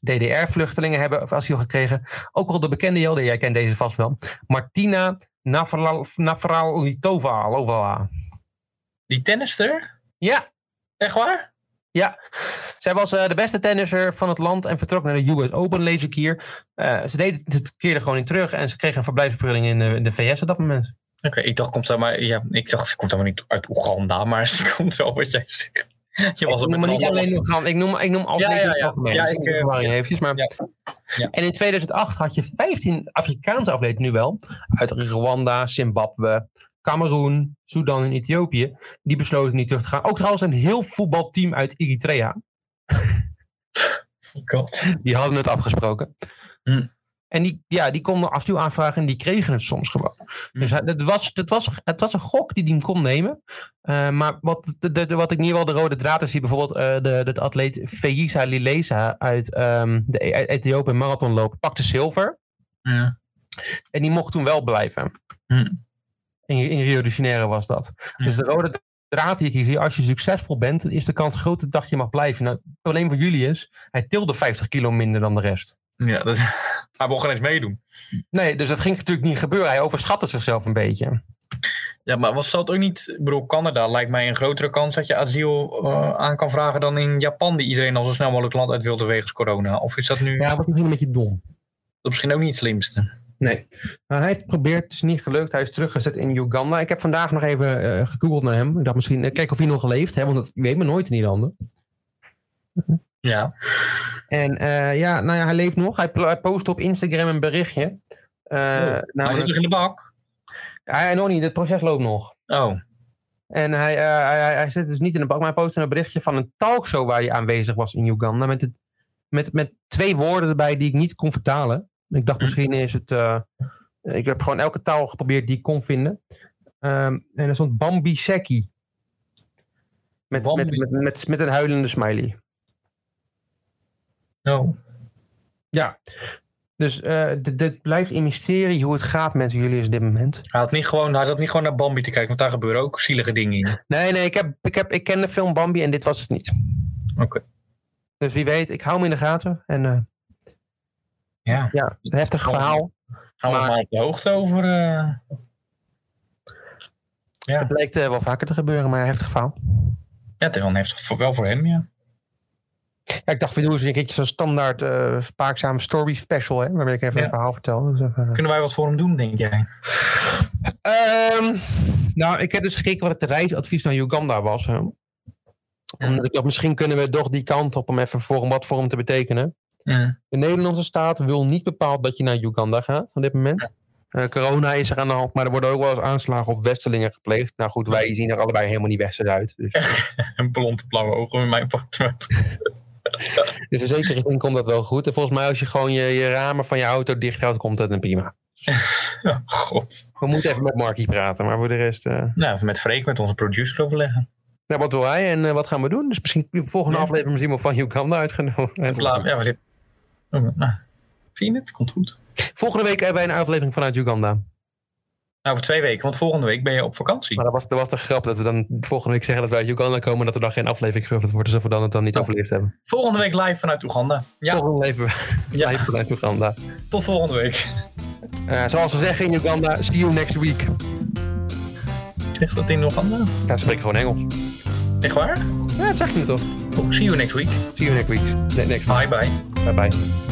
A: DDR-vluchtelingen hebben asiel gekregen. Ook al de bekende Jelde, jij kent deze vast wel. Martina Navral- Navralitova. Lova.
D: Die tennister?
A: Ja,
D: Echt waar?
A: Zij was eh, de beste tennisser van het land en vertrok naar de US Open, lees ik hier. Eh, ze deed het keerde gewoon niet terug en ze kreeg een verblijfsvergunning in, de- in de VS op dat moment.
D: Oké, ik dacht, komt dat maar. Ja, ik dacht, ze komt helemaal niet uit Oeganda, maar ze komt wel wat jij zegt. Je was
A: ik
D: op
A: noem
D: het
A: maar niet
D: al-
A: alleen Oeganda, ik noem, ik noem altijd
D: Ja, ja,
A: in het
D: ja.
A: algemeen.
D: Ja,
A: Dus
D: ik,
A: ik, eh,
D: eh,
A: verwarring eventjes, maar...
D: Ja. Ja.
A: En in 2008 had je 15 Afrikaanse atleten nu wel, uit Rwanda, Zimbabwe, Cameroen, Sudan en Ethiopië, die besloten niet terug te gaan. Ook trouwens een heel voetbalteam uit Eritrea.
D: Oh God.
A: Die hadden het afgesproken.
D: Hm.
A: En die, ja, die konden asiel aanvragen en die kregen het soms gewoon.
D: Hm.
A: Dus hij- het was, het, was, het was een gok die hij kon nemen. Eh, maar wat, de, de- wat ik in ieder geval de rode draad is, die bijvoorbeeld eh, de, de, de atleet Feisa Lilesa uit ehm, de E- Ethiopië marathonloop pakte zilver.
D: Ja.
A: En die mocht toen wel blijven.
D: Hm.
A: In, in Rio de Janeiro was dat.
D: Hm.
A: Dus de rode draad die ik hier zie, als je succesvol bent, is de kans groot dat je mag blijven. Nou, het probleem voor jullie is, hij tilde 50 kilo minder dan de rest.
D: Ja, dat, hij mocht geen eens meedoen.
A: Nee, dus dat ging natuurlijk niet gebeuren. Hij overschatte zichzelf een beetje.
D: Ja, maar was dat ook niet. Ik bedoel, Canada lijkt mij een grotere kans dat je asiel eh, aan kan vragen dan in Japan, die iedereen al zo snel mogelijk land uit wilde wegens corona. Of is dat nu dat
A: was misschien een beetje dom.
D: is misschien ook niet het slimste?
A: Nee. Nou, hij heeft geprobeerd, het is niet gelukt. Hij is teruggezet in Uganda. Ik heb vandaag nog even eh, gegoogeld naar hem. Ik dacht misschien, eh, kijken of hij nog leeft. Hè? Want dat, je weet me nooit in die landen.
D: Ja.
A: En eh, ja, nou ja, hij leeft nog. Hij, pl- hij post op Instagram een berichtje. Eh
D: hij zit
A: namelijk,
D: toch in de bak?
A: hij, nog niet, het proces loopt nog.
D: Oh.
A: En hij, eh, hij, hij- hij zit dus niet in de bak, maar hij postte een berichtje van een talkshow waar hij aanwezig was in Uganda. Met, het, met, met twee woorden erbij die ik niet kon vertalen. Ik dacht misschien is het. eh, ik heb gewoon elke taal geprobeerd die ik kon vinden. Ehm, en er stond Bambi Seki. Met,
D: Bambi.
A: met, met, met, met een huilende smiley.
D: Oh.
A: Dus eh, dit dit blijft een mysterie hoe het gaat met jullie op dit moment.
D: Hij, had niet gewoon, hij zat niet gewoon naar Bambi te kijken, want daar gebeuren ook zielige dingen in.
A: Nee, nee, ik, heb, ik, heb, ik ken de film Bambi en dit was het niet.
D: Oké.
A: Dus wie weet, ik hou hem in de gaten. En eh,
D: Ja.
A: ja, een heftig
D: Bambi.
A: verhaal.
D: Gaan we
A: Maar-
D: maar op de hoogte over. eh,
A: Het lijkt eh, wel vaker te gebeuren, maar heftig verhaal.
D: Ja, het is wel een heftig voor, wel voor hem, ja.
A: Ja, ik dacht, we doen eens een keertje zo'n standaard eh spaakzame story special, hè, waarbij ik even
D: Ja.
A: een verhaal vertel. Dus even, eh.
D: Kunnen wij wat voor hem doen, denk jij?
A: Ehm, nou, ik heb dus gekeken wat het reisadvies naar Uganda was. Hè. Omdat ik dacht, misschien kunnen we toch die kant op om even voor hem wat voor hem te betekenen.
D: Ja.
A: De Nederlandse staat wil niet bepaald dat je naar Uganda gaat op dit moment. Eh, corona is er aan de hand, maar er worden ook wel eens aanslagen of westelingen gepleegd. Nou goed, wij zien er allebei helemaal niet westers uit. Dus,
D: Een blond blauwe ogen in mijn portret.
A: dus in zekere zin komt dat wel goed. En volgens mij als je gewoon je, je ramen van je auto dicht houdt, komt dat een prima.
D: Oh, God.
A: We moeten even met Markie praten, maar voor de rest. eh,
D: Nou, even met Freek, met onze producer overleggen.
A: nou, wat wil hij en eh, wat gaan we doen? Dus misschien de volgende
D: Ja.
A: aflevering zien we van Uganda uitgenodigd.
D: Pla- Ja, we zitten. Oh, nou, zie je het? Komt goed.
A: Volgende week hebben wij een aflevering vanuit Uganda.
D: Nou, over twee weken, want volgende week ben je op vakantie.
A: Maar dat was, dat was de grap dat we dan volgende week zeggen dat wij uit Uganda komen. Dat er dan geen aflevering gebeurd wordt. Dus dat we dan het dan niet
D: Oh.
A: overleefd hebben.
D: Volgende week live vanuit Oeganda. Ja,
A: Volgende leven we
D: Ja.
A: live vanuit Uganda.
D: tot volgende week.
A: Eh, zoals ze zeggen in Uganda, see you next week.
D: Zegt dat in Oeganda?
A: Daar spreek ik gewoon Engels.
D: Echt waar?
A: Ja, dat zeg je toch?
D: Oh, see you next week.
A: See you next week. Ne- Next
D: Bye bye.
A: Bye bye.